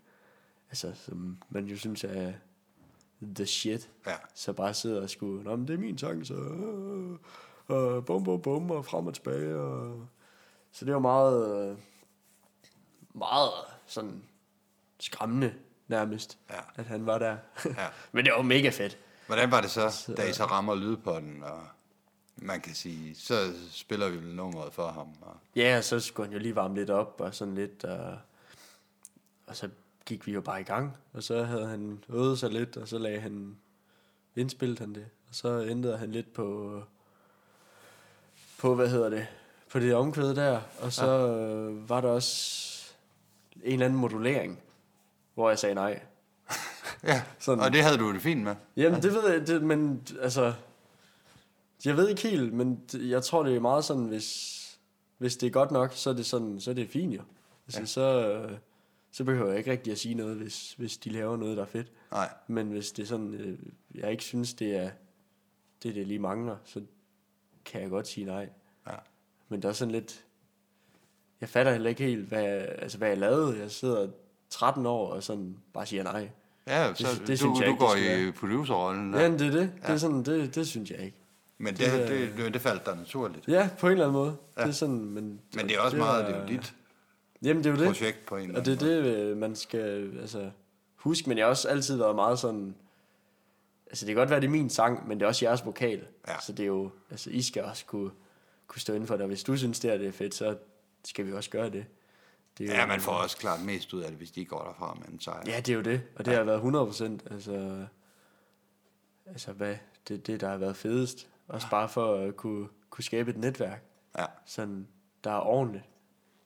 [SPEAKER 2] Altså, som man jo synes er the shit.
[SPEAKER 1] Ja.
[SPEAKER 2] Så bare sidder og skulle... Nå, men det er min sang, så... øh, Og bum, bum, bum, og frem og tilbage. Og... Så det er jo meget... øh, Meget sådan skræmmende nærmest,
[SPEAKER 1] Ja.
[SPEAKER 2] at han var der.
[SPEAKER 1] Ja.
[SPEAKER 2] Men det var mega fedt.
[SPEAKER 1] Hvordan var det så, da I så rammer lydpodden, og man kan sige, så spiller vi vel nummeret for ham. Og,
[SPEAKER 2] Ja, og så skulle han jo lige varme lidt op og sådan lidt, og, og så gik vi jo bare i gang, og så havde han øvet sig lidt, og så lagde han, indspillede han det, og så ændrede han lidt på, på hvad hedder det, på det omkvæde der, og så ja. var der også en eller anden modulering, hvor jeg sagde nej.
[SPEAKER 1] ja,
[SPEAKER 2] Sådan.
[SPEAKER 1] sådan. og det havde du det fint med.
[SPEAKER 2] Jamen, det ved jeg, det, men altså... Jeg ved ikke helt, men det- jeg tror, det er meget sådan, hvis, hvis det er godt nok, så er det, sådan, så er det fint jo. Altså, ja. så, øh, så behøver jeg ikke rigtig at sige noget, hvis, hvis de laver noget, der er fedt.
[SPEAKER 1] Nej,
[SPEAKER 2] Men hvis det er sådan, øh, jeg ikke synes, det er det, det lige mangler, så kan jeg godt sige nej.
[SPEAKER 1] Ja.
[SPEAKER 2] Men der er sådan lidt... Jeg fatter heller ikke helt, hvad, altså, hvad jeg lavede. Jeg sidder 13 år og sådan bare siger nej.
[SPEAKER 1] Ja, så
[SPEAKER 2] det
[SPEAKER 1] det, det du,
[SPEAKER 2] synes jeg
[SPEAKER 1] du
[SPEAKER 2] ikke, det
[SPEAKER 1] går
[SPEAKER 2] skal
[SPEAKER 1] i producerrollen.
[SPEAKER 2] Ja,
[SPEAKER 1] Ja.
[SPEAKER 2] men det er det. Ja. Det, er sådan, det, det synes jeg ikke.
[SPEAKER 1] Men det, det, det, det faldt dig naturligt.
[SPEAKER 2] Ja, på en eller anden måde. Ja. Det er sådan, men...
[SPEAKER 1] Men det er også meget, det er
[SPEAKER 2] er-
[SPEAKER 1] jo dit
[SPEAKER 2] Jamen, det er jo det.
[SPEAKER 1] projekt på en eller
[SPEAKER 2] Og det
[SPEAKER 1] anden
[SPEAKER 2] er det, øh, man skal altså, huske. Men jeg har også altid været meget sådan... Altså, det kan godt være, det er min sang, men det er også jeres vokal.
[SPEAKER 1] Ja.
[SPEAKER 2] Så det er jo... Altså, I skal også kunne, kunne stå inden for det. Og hvis du synes, det, er, det er fedt, så skal vi også gøre det. det er
[SPEAKER 1] måde. Ja, man får også klart mest ud af det, hvis de går derfra med en sejr.
[SPEAKER 2] Ja, det er jo det. Og det har været 100 procent. Altså, altså, hvad? Det er det, der har været fedest. Også
[SPEAKER 1] Ah.
[SPEAKER 2] bare for at kunne, kunne skabe et netværk,
[SPEAKER 1] ja.
[SPEAKER 2] sådan, der er ordentligt.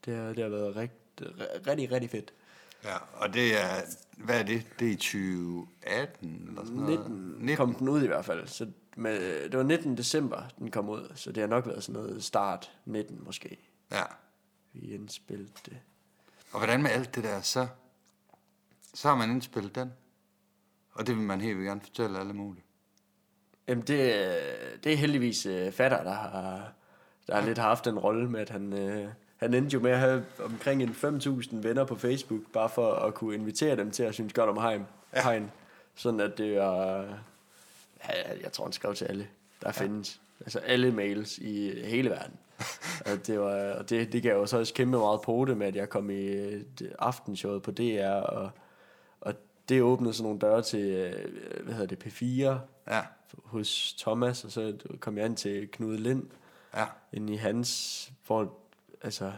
[SPEAKER 2] Det har, det har været rigtig, rigtig, rigtig fedt.
[SPEAKER 1] ja. Og det er, hvad er det? Det er i 2018 eller sådan noget?
[SPEAKER 2] 19, 19 kom den ud i hvert fald. Så med, det var 19. december, den kom ud, så det har nok været sådan noget start 19 måske.
[SPEAKER 1] Ja.
[SPEAKER 2] Vi indspillede det.
[SPEAKER 1] Og hvordan med alt det der, så, så har man indspillet den. Og det vil man helt vildt gerne fortælle alle mulige.
[SPEAKER 2] Jamen, det, øh, det er heldigvis øh, Fatter, der har, der har lidt haft en rolle med, at han, øh, han endte jo med at have omkring en 5.000 venner på Facebook, bare for at kunne invitere dem til at synes godt om Heim. Ja. Hein. Sådan at det er... Ja, jeg tror, han skrev til alle. Der findes altså alle mails i hele verden. og det, var, og det, det gav jo så også kæmpe meget på det med, at jeg kom i øh, det- aftenshowet på DR, og, og det åbnede sådan nogle døre til, øh, hvad hedder det, P4,
[SPEAKER 1] Ja,
[SPEAKER 2] hos Thomas, og så kom jeg ind til Knud Lind,
[SPEAKER 1] ja,
[SPEAKER 2] ind i hans, hvor, altså,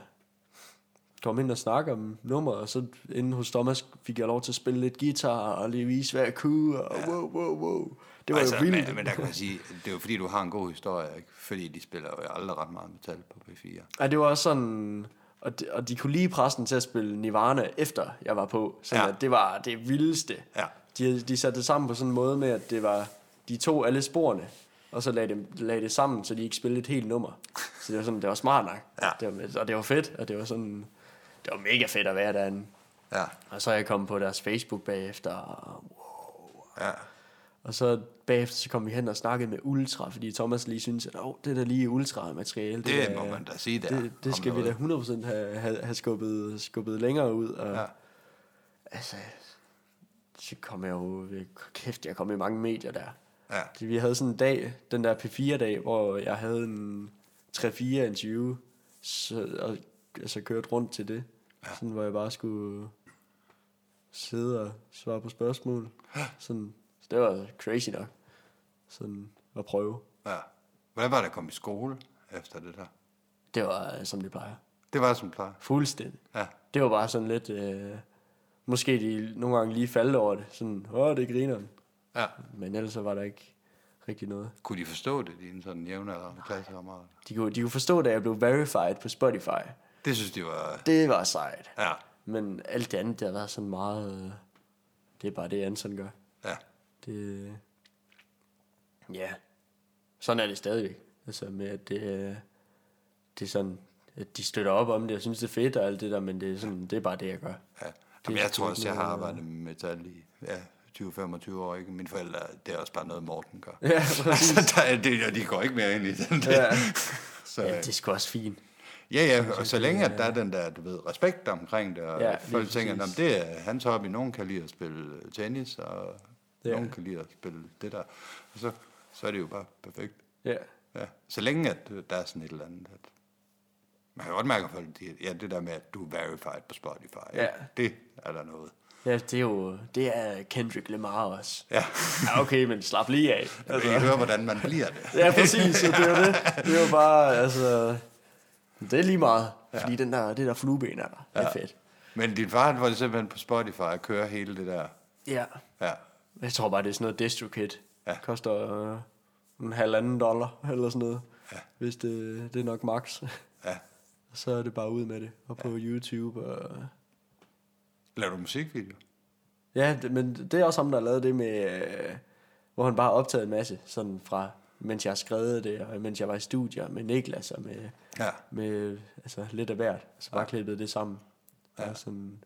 [SPEAKER 2] kom ind og snakke om nummeret, og så inde hos Thomas fik jeg lov til at spille lidt guitar, og lige vise, hvad jeg kunne, og ja. wow, wow, wow. Det var altså, jo vildt.
[SPEAKER 1] Men, men der kan man sige, det er jo fordi, du har en god historie, ikke? fordi de spiller jo aldrig ret meget metal på P4.
[SPEAKER 2] Ja, det var også sådan... Og de, og de kunne lige pressen til at spille Nirvana, efter jeg var på. Så
[SPEAKER 1] Ja.
[SPEAKER 2] ja. det var det vildeste.
[SPEAKER 1] Ja.
[SPEAKER 2] De, de satte det sammen på sådan en måde med, at det var... De tog alle sporene, og så lagde det, lagde det sammen, så de ikke spillede et helt nummer. Så det var sådan, det var smart nok.
[SPEAKER 1] Ja.
[SPEAKER 2] Det var, og det var fedt, og det var sådan... Det var mega fedt at være derinde.
[SPEAKER 1] Ja,
[SPEAKER 2] Og så er jeg kommet på deres Facebook bagefter, og
[SPEAKER 1] ja,
[SPEAKER 2] og så bagefter så kom vi hen og snakkede med Ultra, fordi Thomas lige syntes, at oh, det der lige Ultra-materiale,
[SPEAKER 1] Det
[SPEAKER 2] der-
[SPEAKER 1] må man da sige, det er
[SPEAKER 2] det,
[SPEAKER 1] om
[SPEAKER 2] det skal vi da
[SPEAKER 1] noget."
[SPEAKER 2] 100% have, have, have skubbet, skubbet længere ud. Og,
[SPEAKER 1] Ja.
[SPEAKER 2] Altså, så kom jeg jo, kæft, jeg kom i mange medier der.
[SPEAKER 1] ja.
[SPEAKER 2] Det, vi havde sådan en dag, den der P4-dag, hvor jeg havde en 3-4 interview, så, og altså, kørte rundt til det. Ja. Sådan, hvor jeg bare skulle sidde og svare på spørgsmål. Sådan, så det var crazy nok. Sådan at prøve.
[SPEAKER 1] ja. Hvordan var det at komme i skole efter det der?
[SPEAKER 2] Det var, øh, som det plejer.
[SPEAKER 1] Det var som plejer.
[SPEAKER 2] Fuldstændig.
[SPEAKER 1] Ja,
[SPEAKER 2] Det var bare sådan lidt... Øh, måske de nogle gange lige faldt over det. Sådan, åh, det griner
[SPEAKER 1] ja.
[SPEAKER 2] Men ellers så var der ikke rigtig noget.
[SPEAKER 1] Kunne de forstå det, dine sådan jævnaldrende klassekammerater?
[SPEAKER 2] De kunne, de kunne forstå, da jeg blev verified på Spotify.
[SPEAKER 1] Det synes de var...
[SPEAKER 2] Det var sejt.
[SPEAKER 1] Ja,
[SPEAKER 2] Men alt det andet, det har været sådan meget... øh, Det er bare det, Anson gør.
[SPEAKER 1] ja,
[SPEAKER 2] Det... Ja. Sådan er det stadigvæk. Altså med, at det, øh, det er sådan... At de støtter op om det, og synes, det er fedt og alt det der, men det er, sådan, det er bare det, jeg gør.
[SPEAKER 1] ja. Jamen, jeg
[SPEAKER 2] sgu
[SPEAKER 1] tror
[SPEAKER 2] ikke
[SPEAKER 1] også, jeg har
[SPEAKER 2] noget-
[SPEAKER 1] arbejdet med metal i ja, 20-25 år. Ikke? Mine forældre, det er også bare noget, Morten gør.
[SPEAKER 2] Ja,
[SPEAKER 1] altså, der, er det, og de går ikke mere ind i den der.
[SPEAKER 2] Ja.
[SPEAKER 1] Så, øh,
[SPEAKER 2] Ja, det er sgu også fint.
[SPEAKER 1] Ja, ja, og så længe at der er den der, du ved, respekt omkring det, og
[SPEAKER 2] Ja,
[SPEAKER 1] ja,
[SPEAKER 2] lige
[SPEAKER 1] folk tænker, at
[SPEAKER 2] præcis.
[SPEAKER 1] det er hans hobby, nogen kan lide at spille tennis, og
[SPEAKER 2] Ja.
[SPEAKER 1] ja. nogen kan lide at spille det der, og så, så er det jo bare perfekt.
[SPEAKER 2] Ja.
[SPEAKER 1] Ja. Så længe at øh, der er sådan et eller andet, at man kan godt mærke, at folk, de- ja, det der med, at du er verified på Spotify,
[SPEAKER 2] Ja.
[SPEAKER 1] det er der noget.
[SPEAKER 2] Ja, det er jo det er Kendrick Lamar også.
[SPEAKER 1] Ja,
[SPEAKER 2] Ja, okay, men slap lige af.
[SPEAKER 1] jeg kan høre, hvordan man bliver det.
[SPEAKER 2] Ja, præcis, ja, det er jo det. Det er jo bare, altså... Det er lige meget, fordi den der, det der flueben er der. Det er fedt.
[SPEAKER 1] Men din far, han var simpelthen på Spotify og kører hele det der,
[SPEAKER 2] Ja.
[SPEAKER 1] ja,
[SPEAKER 2] Jeg tror bare, det er sådan noget DistroKid.
[SPEAKER 1] Ja.
[SPEAKER 2] Koster øh, en halvanden dollar eller sådan noget. Ja. Hvis det, det er nok max.
[SPEAKER 1] ja.
[SPEAKER 2] Så er det bare ud med det. Og på YouTube og...
[SPEAKER 1] Laver du musikvideo?
[SPEAKER 2] Ja, det, men det er også ham, der lavede det med, øh, hvor han bare har optaget en masse, sådan fra, mens jeg har skrevet det, og mens jeg var i studier med Niklas, og med,
[SPEAKER 1] Ja.
[SPEAKER 2] med altså, lidt af hvert, så bare ja. klippede det sammen. Ja. Og sådan,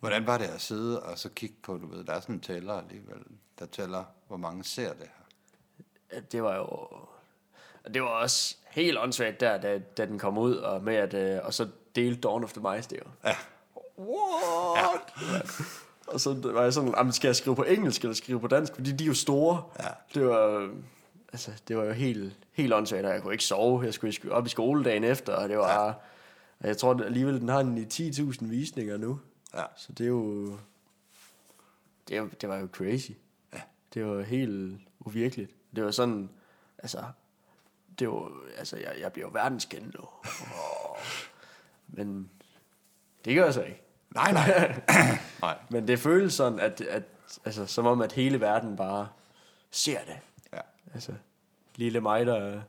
[SPEAKER 1] Hvordan var det at sidde og så kigge på, du ved, der er sådan en tæller alligevel, der tæller, hvor mange ser det her.
[SPEAKER 2] at det var jo, og det var også helt åndssvagt der, da, da den kom ud, og, med at, øh, og så delte Dawn of the Mice det jo. Ja. What? Ja. Og så var jeg sådan, "Jamen, skal jeg skrive på engelsk eller skrive på dansk? Fordi de er jo store.
[SPEAKER 1] Ja.
[SPEAKER 2] Det var, altså, det var jo helt, helt åndssvagt, og jeg kunne ikke sove. Jeg skulle i sk- op i skole dagen efter, og det var... Ja. Og jeg tror at alligevel, den har en i 10.000 visninger nu.
[SPEAKER 1] Ja.
[SPEAKER 2] Så det er jo... Det, er, jo- det var jo crazy.
[SPEAKER 1] Ja.
[SPEAKER 2] Det var helt uvirkeligt. Det var sådan... Altså... Det var... Altså, jeg, jeg bliver jo verdenskendt nu. Og, men... Det gør jeg så ikke.
[SPEAKER 1] Nej, nej. nej.
[SPEAKER 2] Men det føles sådan, at, at altså, som om, at hele verden bare ser det.
[SPEAKER 1] Ja.
[SPEAKER 2] Altså, lille mig, der...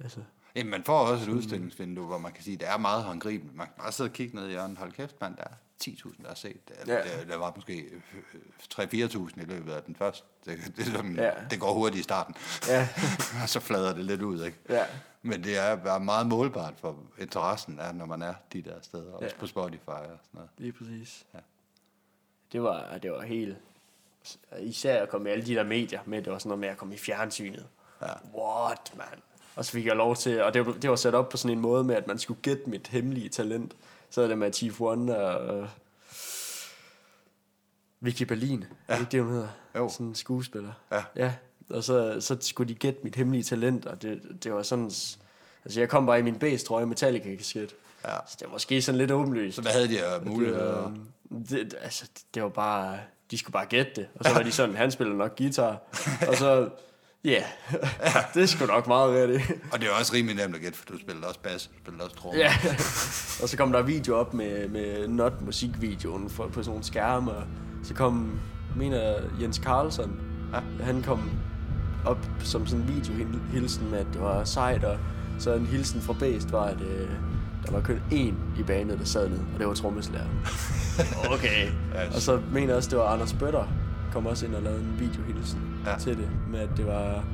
[SPEAKER 2] Altså,
[SPEAKER 1] Jamen, man får også et
[SPEAKER 2] Mm.
[SPEAKER 1] udstillingsvindue, hvor man kan sige, at det er meget håndgribeligt. Man kan bare sidde og kigge ned i hjørnet. Hold kæft, mand, der er 10.000, der har set det. Eller,
[SPEAKER 2] Ja.
[SPEAKER 1] der, der var måske øh, 3-4.000 i løbet af den første. Det, det, er sådan,
[SPEAKER 2] Ja.
[SPEAKER 1] det går hurtigt i starten.
[SPEAKER 2] ja,
[SPEAKER 1] og så flader det lidt ud, ikke?
[SPEAKER 2] Ja.
[SPEAKER 1] Men det er bare meget målbart for interessen er, når man er de der steder. Også
[SPEAKER 2] Ja.
[SPEAKER 1] på Spotify og sådan noget.
[SPEAKER 2] lige præcis.
[SPEAKER 1] Ja.
[SPEAKER 2] Det var, det var helt... Især at komme i alle de der medier med, det var sådan noget med at komme i fjernsynet. Ja. What, man? Og så fik jeg lov til, og det var, det var sat op på sådan en måde med, at man skulle gætte mit hemmelige talent. Så er det med Chief One og... Uh, Vicky Berlin, ja. er det ikke det, hun hedder?
[SPEAKER 1] Jo.
[SPEAKER 2] Sådan en skuespiller.
[SPEAKER 1] Ja.
[SPEAKER 2] ja. Og så, så skulle de gætte mit hemmelige talent, og det, det var sådan... s- Altså, jeg kom bare i min base-trøje Metallica-kasket.
[SPEAKER 1] Ja.
[SPEAKER 2] Så det var måske sådan lidt åbenlyst.
[SPEAKER 1] Så hvad havde de af muligheder?
[SPEAKER 2] Øh, det, altså, det var bare... De skulle bare gætte det. Og så var de sådan, han spiller nok guitar. Og så... Ja, det er sgu nok meget rigtigt.
[SPEAKER 1] Og det er også rimelig nemt at gætte, for du spillede også bas, du spillede også trommer.
[SPEAKER 2] Ja. Og så kom der video op med, med not musikvideoen for, på sådan nogle skærme. Og så kom, jeg mener Jens Carlsen, ja. han kom op som sådan en videohilsen med, at det var sejt. Og så en hilsen fra Bæst var, at øh, der var kun én i banen, der sad ned, og det var trommeslæren. okay. og så mener jeg også, det var Anders Bøtter, kom også ind og lavede en videohilsen
[SPEAKER 1] Ja.
[SPEAKER 2] ja. til det, med at det var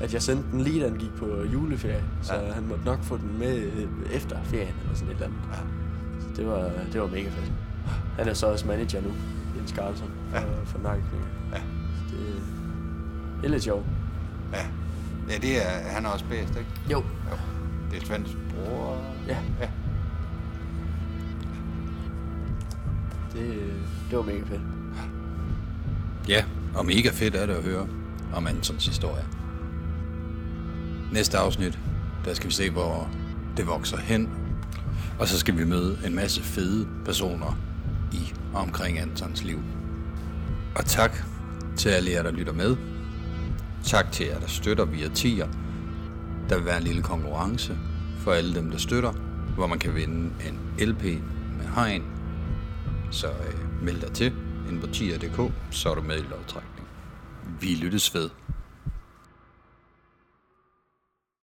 [SPEAKER 2] at jeg sendte den lige, da han gik på juleferie, så ja. han måtte nok få den med øh, efter ferien eller sådan et eller andet.
[SPEAKER 1] Ja.
[SPEAKER 2] Så det var, det var mega fedt. Han er så også manager nu, Jens Carlsen, for, ja. for Nakkeklinger.
[SPEAKER 1] Ja.
[SPEAKER 2] Så det, det er lidt sjovt.
[SPEAKER 1] ja. ja det er, han er også bedst, ikke?
[SPEAKER 2] Jo.
[SPEAKER 1] Jo. Det er Svends bror.
[SPEAKER 2] Ja,
[SPEAKER 1] ja.
[SPEAKER 2] det, det var mega fedt.
[SPEAKER 3] Ja, og mega fedt er det at høre om Antons historie. Næste afsnit, der skal vi se, hvor det vokser hen. Og så skal vi møde en masse fede personer i og omkring Antons liv. Og tak til alle jer, der lytter med. Tak til jer, der støtter via tier. Der vil være en lille konkurrence for alle dem, der støtter, hvor man kan vinde en LP med hegn. Så øh, meld dig til ind på tier.dk, så er du med i lovtrækning. Vi lyttes ved.